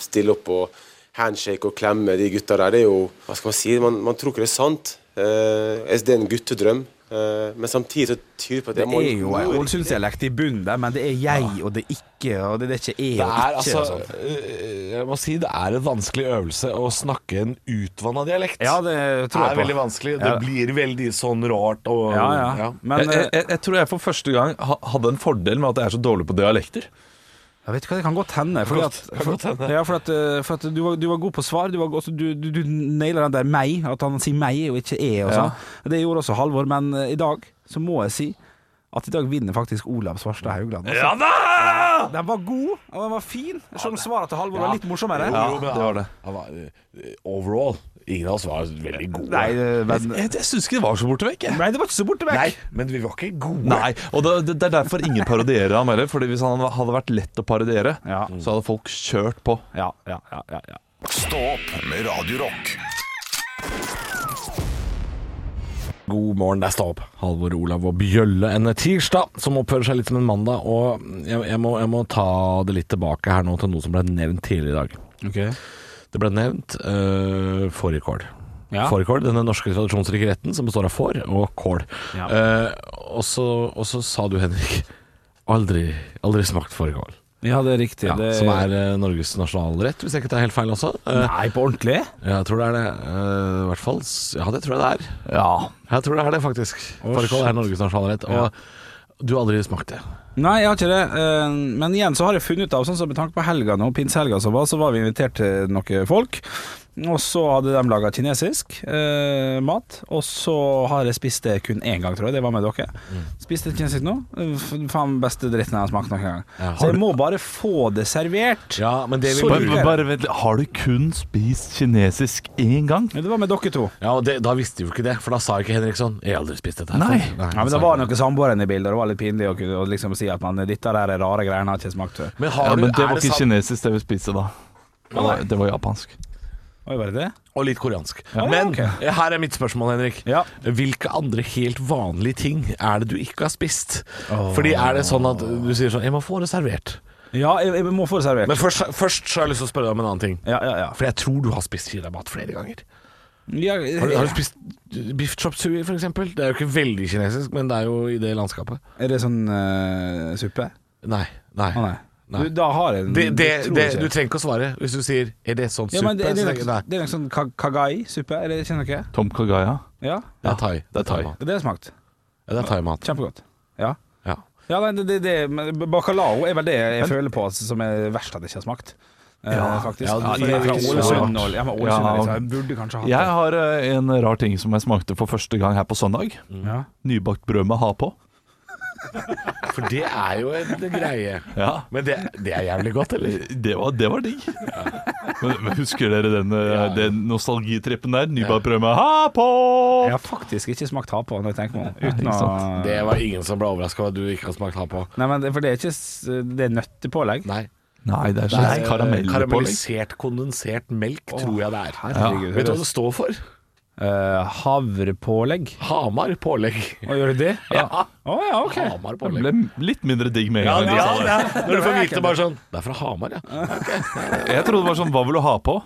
Speaker 11: stille opp og handshake og klemme de gutta der, det er jo Hva skal man si? Man, man tror ikke det er sant. Eh, det er en guttedrøm. Eh, men samtidig så tyder det på at
Speaker 5: Det
Speaker 11: jeg må-
Speaker 5: er jo en
Speaker 11: må-
Speaker 5: Ålesundsdialekt i bunnen der, men det er jeg og det er ikke, og det er ikke jeg
Speaker 4: Det
Speaker 5: og
Speaker 4: er
Speaker 5: ikke.
Speaker 4: altså
Speaker 5: og sånn.
Speaker 4: øh, Jeg må si det er en vanskelig øvelse å snakke en utvanna dialekt.
Speaker 5: Ja, det tror jeg
Speaker 4: er
Speaker 5: på.
Speaker 4: veldig vanskelig. Det
Speaker 5: Ja.
Speaker 4: blir veldig sånn rart og
Speaker 5: Ja, ja. Men
Speaker 3: Jeg, jeg,
Speaker 5: eh,
Speaker 3: jeg, jeg tror jeg for første gang ha- hadde en fordel med at jeg er så dårlig på dialekter.
Speaker 5: jeg vet ikke hva det kan godt hende. Fordi at, for, ja, for at, eh, for at du, var, du var god på svar. Du, var, også, du, du, du naila den der meg, at han sier meg og ikke jeg og sånn. Det gjorde også Halvor, men eh, i dag så må jeg si at i dag vinner faktisk Olav Svarstad Haugland. Altså.
Speaker 3: da!
Speaker 5: Den var god, og den var fin, selv om svaret til Halvor var litt morsommere.
Speaker 4: Jo, jo, men
Speaker 3: det var det.
Speaker 4: han var, øh, overall, ingen av oss var veldig gode.
Speaker 5: Nei, eh, men,
Speaker 3: Jeg, jeg syns ikke det var så borte vekk, jeg.
Speaker 5: nei, det var ikke så borte vekk.
Speaker 4: Nei, men vi var ikke gode.
Speaker 3: Nei, og det, det det er derfor ingen parodierer ham heller. Fordi hvis han hadde vært lett å parodiere,
Speaker 5: Ja.
Speaker 3: så hadde folk kjørt på.
Speaker 5: Ja, ja, ja, ja, ja.
Speaker 1: Stå opp med Radio Rock.
Speaker 4: God morgen, det er Stå opp. Halvor, Olav og Bjølle en tirsdag, som oppfører seg litt som en mandag. Og jeg, jeg, må, jeg må ta det litt tilbake her nå til noe som ble nevnt tidligere i dag.
Speaker 5: Ok.
Speaker 4: Det ble nevnt uh, fårikål.
Speaker 5: Ja.
Speaker 4: Fårikål, denne norske tradisjonsrike retten som består av får og kål.
Speaker 5: Ja.
Speaker 4: Eh, og, så, og så sa du, Henrik, aldri, aldri smakt fårikål.
Speaker 5: Ja, det er riktig.
Speaker 4: Ja,
Speaker 5: det...
Speaker 4: Som er eh, Norges nasjonalrett, hvis jeg ikke tar helt feil også. Eh,
Speaker 5: Nei, på ordentlig?
Speaker 4: jeg tror det er det. eh, I hvert fall s- Ja, det tror jeg det er.
Speaker 5: Ja.
Speaker 4: Jeg tror det er det, faktisk. Fårikål er Norges nasjonalrett. Og du har aldri smakt det.
Speaker 5: Nei, jeg har ikke det. Eh, Men igjen så har jeg funnet ut av, sånn som med tanke på helga nå, pinsehelga som var, så var vi invitert til noen folk. Og så hadde de laga kinesisk eh, mat, og så har jeg spist det kun én gang, tror jeg. Det var med dere.
Speaker 4: Mm.
Speaker 5: Spiste kinesisk nå. Eh, f- Faen beste dritten jeg har smakt noen gang.
Speaker 4: Ja.
Speaker 5: Så jeg må bare få det servert.
Speaker 4: Ja, men det
Speaker 5: Så
Speaker 4: vil
Speaker 5: Bare-
Speaker 3: Bare, bare vent, litt. har du kun spist kinesisk én gang?
Speaker 5: Men Det var med dere to.
Speaker 4: Ja, og det, Da visste jo ikke det, for da sa ikke Henrik sånn. Jeg har aldri spist dette. her
Speaker 3: Nei.
Speaker 4: før».
Speaker 5: Ja, men
Speaker 4: han sa
Speaker 5: Det var
Speaker 4: ikke
Speaker 5: noen samboere inne i bildet, og det var litt pinlig å kunne- å liksom si at man, dette der er rare greiene, har jeg ikke smakt før.
Speaker 4: Men, har
Speaker 3: Ja,
Speaker 4: du,
Speaker 3: men det
Speaker 4: er
Speaker 3: var ikke
Speaker 4: sant-
Speaker 3: kinesisk det vi spiste da. Det var, det var japansk.
Speaker 5: Oi, var det det?
Speaker 4: Og litt koreansk.
Speaker 5: Ja,
Speaker 4: Men
Speaker 5: ok.
Speaker 4: eh, her er mitt spørsmål, Henrik.
Speaker 5: Ja.
Speaker 4: Hvilke andre helt vanlige ting er det du ikke har spist? Fordi er det sånn at du sier sånn Jeg må få det servert.
Speaker 5: Ja, jeg, jeg må få det servert.
Speaker 4: Men først, først så har jeg lyst til å spørre deg om en annen ting.
Speaker 5: Ja, ja, ja.
Speaker 4: For jeg tror du har spist kinamat flere ganger.
Speaker 5: Ja, eh,
Speaker 4: Har du, har du spist biff chop suey, for eksempel? Det er jo ikke veldig kinesisk, men det er jo i det landskapet.
Speaker 5: er det sånn eh, suppe?
Speaker 4: Nei. Nei.
Speaker 5: Å Ah, nei.
Speaker 4: Nei.
Speaker 5: Du, da har jeg den.
Speaker 4: Det, det,
Speaker 5: tror
Speaker 4: det,
Speaker 5: ikke.
Speaker 4: du trenger ikke å svare hvis du sier 'er det sånn
Speaker 5: ja,
Speaker 4: suppe'?
Speaker 5: men det, det,
Speaker 4: så
Speaker 5: er
Speaker 4: tenker jeg,
Speaker 5: nok- det er nok sånn ka- kagai-suppe, er det kjenner dere?
Speaker 3: Tom Kagaya.
Speaker 5: Ja,
Speaker 4: nei, det er thai.
Speaker 3: det er thai.
Speaker 5: det er det smakt.
Speaker 4: Ja, det er thai-mat.
Speaker 5: Kjempegodt. Ja.
Speaker 4: Ja.
Speaker 5: Ja, nei, det, det, det, men Bacalao er vel det jeg føler på altså, som er verst at jeg ikke har smakt. Eh, faktisk.
Speaker 4: ja,
Speaker 5: For
Speaker 4: det
Speaker 5: jeg er
Speaker 4: er
Speaker 5: fra
Speaker 4: ikke så
Speaker 5: Ålesund,
Speaker 3: rart.
Speaker 5: og- ja, men Ålesund er
Speaker 3: Ja.
Speaker 5: liksom, jeg burde kanskje hatt
Speaker 3: Jeg har eh, en rar ting som jeg smakte for første gang her på søndag.
Speaker 5: det. Ja.
Speaker 3: Nybakt brød med ha på.
Speaker 4: For det er jo en greie.
Speaker 3: Ja,
Speaker 4: Men det, det er jævlig godt, eller?
Speaker 3: Det var, det var digg. Men, men husker dere den, eh, den nostalgitrippen der? Nybakt brød med ha på!
Speaker 5: Jeg har faktisk ikke smakt ha på, når jeg tenker meg om. Uten å
Speaker 4: Det var ingen som ble overraska over at du ikke har smakt ha på.
Speaker 5: Nei, men det, for det er ikke s- Det er nøttepålegg.
Speaker 4: Nei.
Speaker 3: Nei, det er
Speaker 4: Det er
Speaker 3: sånn karamellpålegg.
Speaker 4: karamellisert kondensert melk, tror jeg det er.
Speaker 5: herregud,
Speaker 4: Vet du
Speaker 5: høres-
Speaker 4: hva det står for?
Speaker 5: Eh, havrepålegg.
Speaker 4: Hamar pålegg.
Speaker 5: Å, gjør det det?
Speaker 4: Ja.
Speaker 5: Å ja, OK.
Speaker 4: Hamar
Speaker 3: Det
Speaker 4: pålegg.
Speaker 3: ble litt mindre digg med en
Speaker 4: Ja,
Speaker 3: gang.
Speaker 4: ja,
Speaker 3: de sa det.
Speaker 4: ja. Når du får vite bare sånn Det er fra Hamar, ja.
Speaker 3: Jeg trodde det var sånn Hva vil du ha på?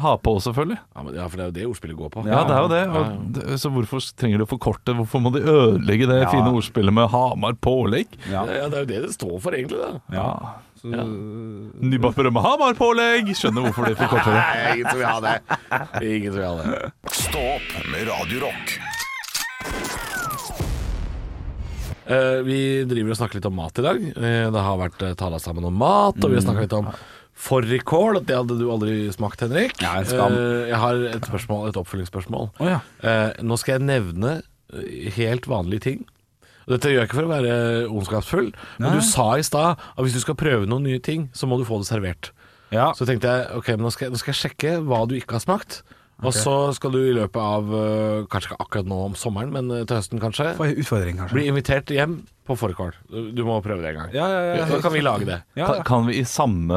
Speaker 3: Ha på, selvfølgelig.
Speaker 4: Ja, men, ja for det er jo det ordspillet går på.
Speaker 3: Ja, det er jo det. Og, d- så hvorfor trenger de å forkorte? Hvorfor må de ødelegge det
Speaker 5: Ja.
Speaker 3: fine ordspillet med Hamar pålegg?
Speaker 5: Ja.
Speaker 4: Ja, det er jo det det står for, egentlig. da
Speaker 5: Ja.
Speaker 3: Nybakt brød med Hamar pålegg! Skjønner hvorfor de forkorter det.
Speaker 4: Nei, ingen som vil ha det. Ingen som vil ha det.
Speaker 1: Stå opp med Radio Rock.
Speaker 4: Eh, vi driver og snakker litt om mat i dag. Eh, det har vært uh, tala sammen om mat, og vi har snakka litt
Speaker 5: Mm.
Speaker 4: om fårikål. at Det hadde du aldri smakt, Henrik.
Speaker 5: Ja, en skam.
Speaker 4: Eh, jeg har et spørsmål, et oppfølgingsspørsmål.
Speaker 5: Å, ja.
Speaker 4: Eh, nå skal jeg nevne eh, helt vanlige ting. Og Dette gjør jeg ikke for å være ondskapsfull, men du sa i stad at hvis du skal prøve noen nye ting, så må du få det servert.
Speaker 5: Ja.
Speaker 4: Så tenkte jeg ok, men nå skal jeg, nå skal jeg sjekke hva du ikke har smakt. Og så skal du i løpet av eh, Kanskje ikke akkurat nå om sommeren, men eh, til høsten kanskje.
Speaker 5: Får jeg utfordring, kanskje?
Speaker 4: Bli invitert hjem på fårikål. Du du må prøve det en gang.
Speaker 5: Ja, ja, ja.
Speaker 4: Da kan vi lage det.
Speaker 5: Ja,
Speaker 3: Kan,
Speaker 5: ja.
Speaker 3: kan vi i samme,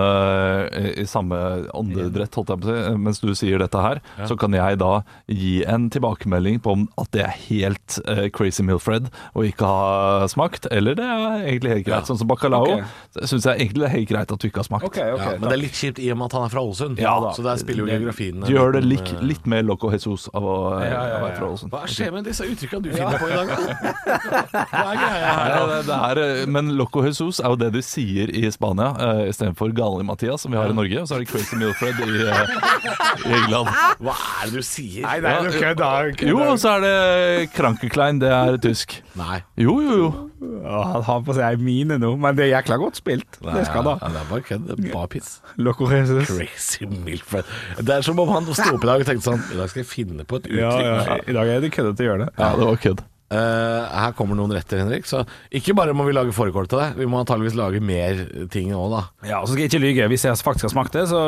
Speaker 3: eh, i samme åndedrett, holdt jeg på å si, eh, mens du sier dette her, så kan jeg da gi en tilbakemelding på om at det er helt eh, crazy Milfred og ikke har smakt, eller det er egentlig helt greit. Sånn som bacalao
Speaker 5: Ok.
Speaker 3: syns jeg egentlig det er helt greit at du ikke har smakt.
Speaker 5: OK, OK.
Speaker 4: Ja, men det er litt kjipt i og med at han er fra Ålesund,
Speaker 3: Ja da.
Speaker 4: så der spiller jo geografien en
Speaker 3: Du gjør det
Speaker 4: liten,
Speaker 3: lik,
Speaker 4: eh,
Speaker 3: litt mer Loco Jesus av å eh,
Speaker 5: Ja, ja, ja, ja.
Speaker 3: være fra Ålesund.
Speaker 4: Hva skjer med disse uttrykkene du finner på i dag? da? Hva er greia her?
Speaker 3: Ja, det, det er, eh, men Loco Jesus er jo det de sier i Spania eh, istedenfor Gale-Mathias, som vi har i Norge. Og så er det Crazy Milfred i, eh, i England.
Speaker 4: Hva er det du sier?
Speaker 5: Nei, nei, du kødder. du kødder.
Speaker 3: Jo, og så er det Krankeklein, det er tysk.
Speaker 4: Nei.
Speaker 3: Jo, jo, jo.
Speaker 5: Ja, Han har på seg mine nå, men det er jækla godt spilt. Det skal da.
Speaker 4: Ja, det er bare kødd. Det er Bare piss.
Speaker 5: Loco Jesus.
Speaker 4: Crazy Milfred. Det er som om han sto opp i dag og tenkte sånn I dag skal jeg finne på et uttrykk.
Speaker 5: Ja, ja. I dag er det køddete å gjøre det.
Speaker 3: Ja, det var kødd.
Speaker 4: Eh, her kommer noen retter, Henrik. Så ikke bare må vi lage fårikål til deg, vi må antageligvis lage mer ting nå, da.
Speaker 5: Ja, og så skal jeg ikke lyge. Hvis jeg faktisk har smakt det, så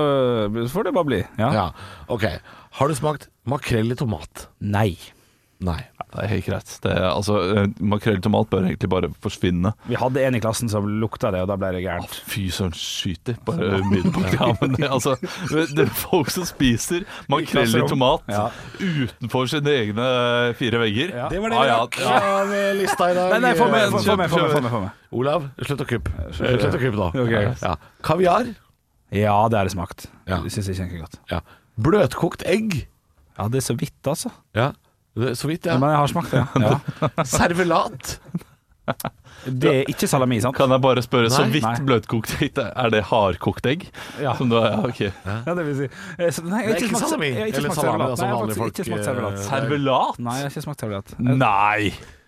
Speaker 5: får det bare bli. Ja.
Speaker 4: Ja, ok. Har du smakt makrell i tomat?
Speaker 5: Nei.
Speaker 4: Nei.
Speaker 3: Det er helt greit. Det er, altså, eh, Makrell i tomat bør egentlig bare forsvinne.
Speaker 5: Vi hadde en i klassen som lukta det, og da ble det gærent.
Speaker 3: Fy søren, skyter bare umiddelbart. Ja, men det, altså, det er folk som spiser makrell i
Speaker 5: klasserom.
Speaker 3: tomat
Speaker 5: Ja.
Speaker 3: utenfor sine egne eh, fire vegger.
Speaker 5: Ja.
Speaker 4: Det var det
Speaker 3: Ah,
Speaker 4: vi
Speaker 3: ja,
Speaker 4: rakk
Speaker 3: ja.
Speaker 4: av eh, lista i dag.
Speaker 5: Nei, nei, få med,
Speaker 4: Eh,
Speaker 5: få, få med, få med, få med, få med.
Speaker 4: Olav, slutt å kuppe. Eh, Slutt å kuppe nå.
Speaker 5: Ok.
Speaker 4: Ja. Kaviar.
Speaker 5: Ja, det er det smakt.
Speaker 4: Ja.
Speaker 5: Det syns jeg ikke er godt.
Speaker 4: Ja. Bløtkokt egg.
Speaker 5: Ja, det er så vidt, altså.
Speaker 4: Ja. Det, så vidt, ja.
Speaker 5: Men jeg har smakt det. Ja.
Speaker 4: Servelat.
Speaker 5: Det er ikke salami, sant?
Speaker 3: Kan jeg bare spørre, så
Speaker 4: Nei,
Speaker 5: nei.
Speaker 3: vidt bløtkokt egg, det- er det hardkokt egg?
Speaker 5: Ja.
Speaker 3: Som du har, ja, ok.
Speaker 5: Ja, det vil si. Eh, så- Nei, jeg har
Speaker 4: Det er
Speaker 5: ikke
Speaker 4: ikke
Speaker 5: smakt
Speaker 4: salami.
Speaker 5: jeg har ikke
Speaker 4: Eller
Speaker 5: smakt
Speaker 4: salami, da,
Speaker 5: servelat.
Speaker 4: som
Speaker 5: Nei, jeg har
Speaker 4: vanlige
Speaker 5: faktisk ikke
Speaker 4: folk,
Speaker 5: smakt servelat.
Speaker 4: eh,
Speaker 3: Servelat?
Speaker 5: Nei, jeg har ikke smakt servelat.
Speaker 3: Nei!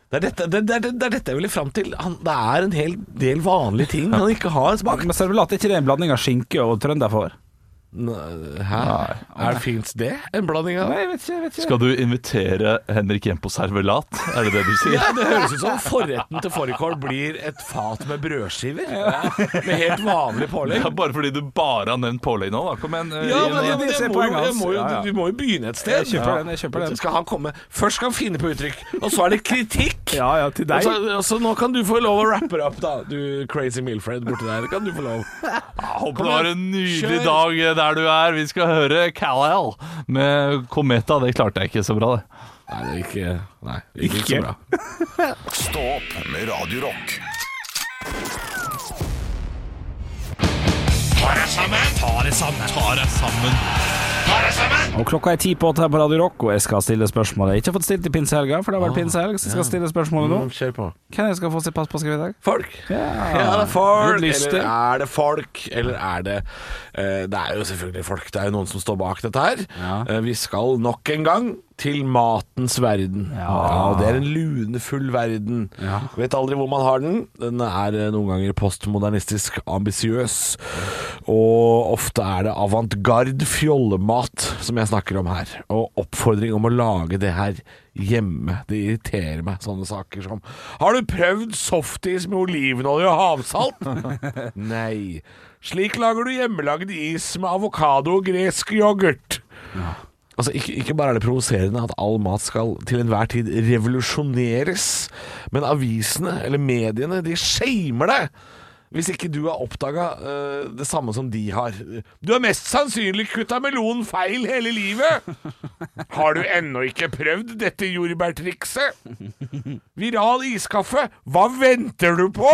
Speaker 4: Det er dette, det, det, det er dette jeg ville fram til. Han, det er en hel del vanlige ting han ikke har smakt.
Speaker 5: Men servelat, er ikke det en blanding av skinke og trønderfår?
Speaker 4: Hæ? Er Fins det en blanding av
Speaker 5: Nei, jeg vet ikke. Jeg vet ikke.
Speaker 3: Skal du invitere Henrik hjem på servelat? Er det det du sier?
Speaker 4: Ja, Det høres ut som forretten til fårikål blir et fat med brødskiver. Med helt vanlig
Speaker 3: Det
Speaker 4: pålegg.
Speaker 3: er bare fordi du bare har nevnt pålegg nå, da. Kom igjen. eh,
Speaker 4: Ja,
Speaker 3: gi
Speaker 4: men
Speaker 3: meg-
Speaker 4: det, det
Speaker 5: ser
Speaker 4: må, jo-
Speaker 5: poenget
Speaker 4: jeg
Speaker 5: hans.
Speaker 4: må jo,
Speaker 5: Ja, ja.
Speaker 4: Vi må jo begynne et sted.
Speaker 5: Jeg kjøper
Speaker 4: Ja.
Speaker 5: den, jeg kjøper den.
Speaker 4: Skal han komme Først skal han finne på uttrykk, og så er det kritikk.
Speaker 5: Ja, ja, til
Speaker 4: Og
Speaker 5: deg.
Speaker 4: så, og så nå kan du få lov å rappe det opp, da. Du crazy Milfred borti der. Kan du få lov?
Speaker 3: Håper
Speaker 4: Kom
Speaker 3: du har
Speaker 4: igjen.
Speaker 3: en nydelig
Speaker 4: Kjør.
Speaker 3: dag der du er. Vi skal høre Cal-Al med Kometa. Det klarte jeg ikke så bra, det.
Speaker 4: Nei, det gikk ikke, nei, det gikk ikke så
Speaker 5: Ikke.
Speaker 4: bra.
Speaker 1: Stå opp med Radio Rock.
Speaker 12: Ta deg sammen! Ta deg sammen! Ta deg sammen! Ta
Speaker 5: Og klokka er ti på åtte her på Radio Rock, og jeg skal stille spørsmålet. Jeg har ikke fått stilt i pinsehelga, for det
Speaker 4: Ah.
Speaker 5: har vært pinsehelg, så jeg skal stille spørsmålet nå.
Speaker 4: Kjør på.
Speaker 5: Hvem jeg skal få sitt pass på skrevet i dag?
Speaker 4: Folk.
Speaker 5: Ja.
Speaker 4: Er Mm. det folk,
Speaker 5: Litt lyst
Speaker 4: eller
Speaker 5: til.
Speaker 4: er det folk, eller er det eh, Det er jo selvfølgelig folk. Det er jo noen som står bak dette her. Eh, vi skal nok en gang til matens verden. Ja. det er en lunefull verden. Vet aldri hvor man har den. Den er eh, noen ganger postmodernistisk ambisiøs. Og ofte er det avantgarde fjollemat som jeg snakker om her. Og oppfordring om å lage det her hjemme. Det irriterer meg, sånne saker som Har du prøvd softis med olivenolje og havsalt? Nei. Slik lager du hjemmelagd is med avokado og gresk yoghurt. Altså, ikke, ikke bare er det provoserende at all mat skal til enhver tid revolusjoneres, men avisene eller mediene de shamer det. Hvis ikke du har oppdaga det samme som de har. Du har mest sannsynlig kutta melonen feil hele livet! Har du ennå ikke prøvd dette jordbærtrikset? Viral iskaffe, hva venter du på?!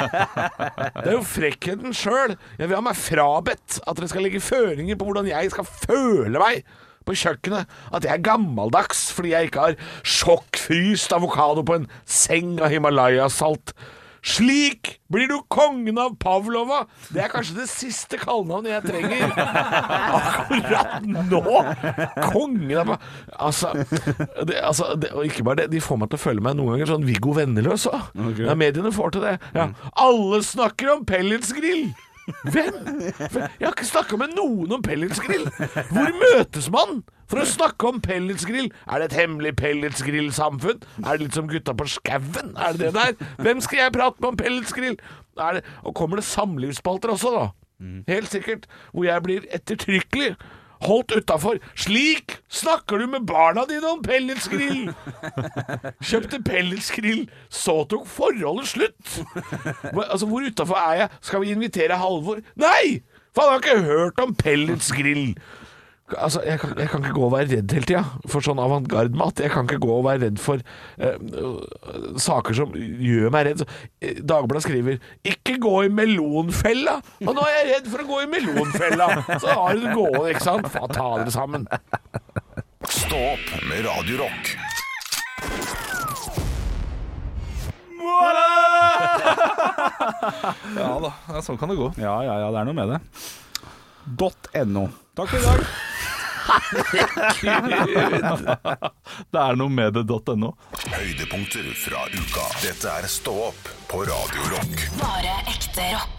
Speaker 4: Det er jo frekkheten sjøl. Jeg vil ha meg frabedt at dere skal legge føringer på hvordan jeg skal føle meg på kjøkkenet. At jeg er gammeldags fordi jeg ikke har sjokkfryst avokado på en seng av Himalaya-salt. Slik blir du kongen av Pavlova! Det er kanskje det siste kallenavnet jeg trenger akkurat nå! Kongen av Pa- Altså, det, altså det, Og ikke bare det, de får meg til å føle meg noen ganger sånn Viggo Venneløs òg. Ja, mediene får til det. Ja. Alle snakker om pelletsgrill! Hvem? Jeg har ikke snakka med noen om pelletsgrill! Hvor møtes man for å snakke om pelletsgrill? Er det et hemmelig pelletsgrillsamfunn? Er det litt som gutta på skauen? Er det det der? Hvem skal jeg prate med om pelletsgrill? Er det, og kommer det samlivsspalter også, da? Helt sikkert. Hvor jeg blir ettertrykkelig holdt utafor. Slik snakker du med barna dine om pelletsgrill! Kjøpte pelletsgrill, så tok forholdet slutt. Hva- Altså, Hvor utafor er jeg? Skal vi invitere Halvor? Nei! For han har ikke hørt om pelletsgrill. Altså, jeg kan, jeg kan ikke gå og være redd hele tida for sånn avantgarde-mat. Jeg kan ikke gå og være redd for eh, øh, saker som gjør meg redd. Så, eh, Dagbladet skriver 'ikke gå i melonfella', og nå er jeg redd for å gå i melonfella. Så har du det gående, ikke sant? Faen, ta dere sammen.
Speaker 1: Stå opp med Radio Rock.
Speaker 3: Ja da, ja, sånn kan det gå.
Speaker 5: Ja, ja, ja, det er noe med det. .no. Takk for i dag.
Speaker 3: Det er noe med det.no.
Speaker 1: Høydepunkter fra uka. Dette er Stå opp på Radio Rock.
Speaker 2: Bare ekte rock.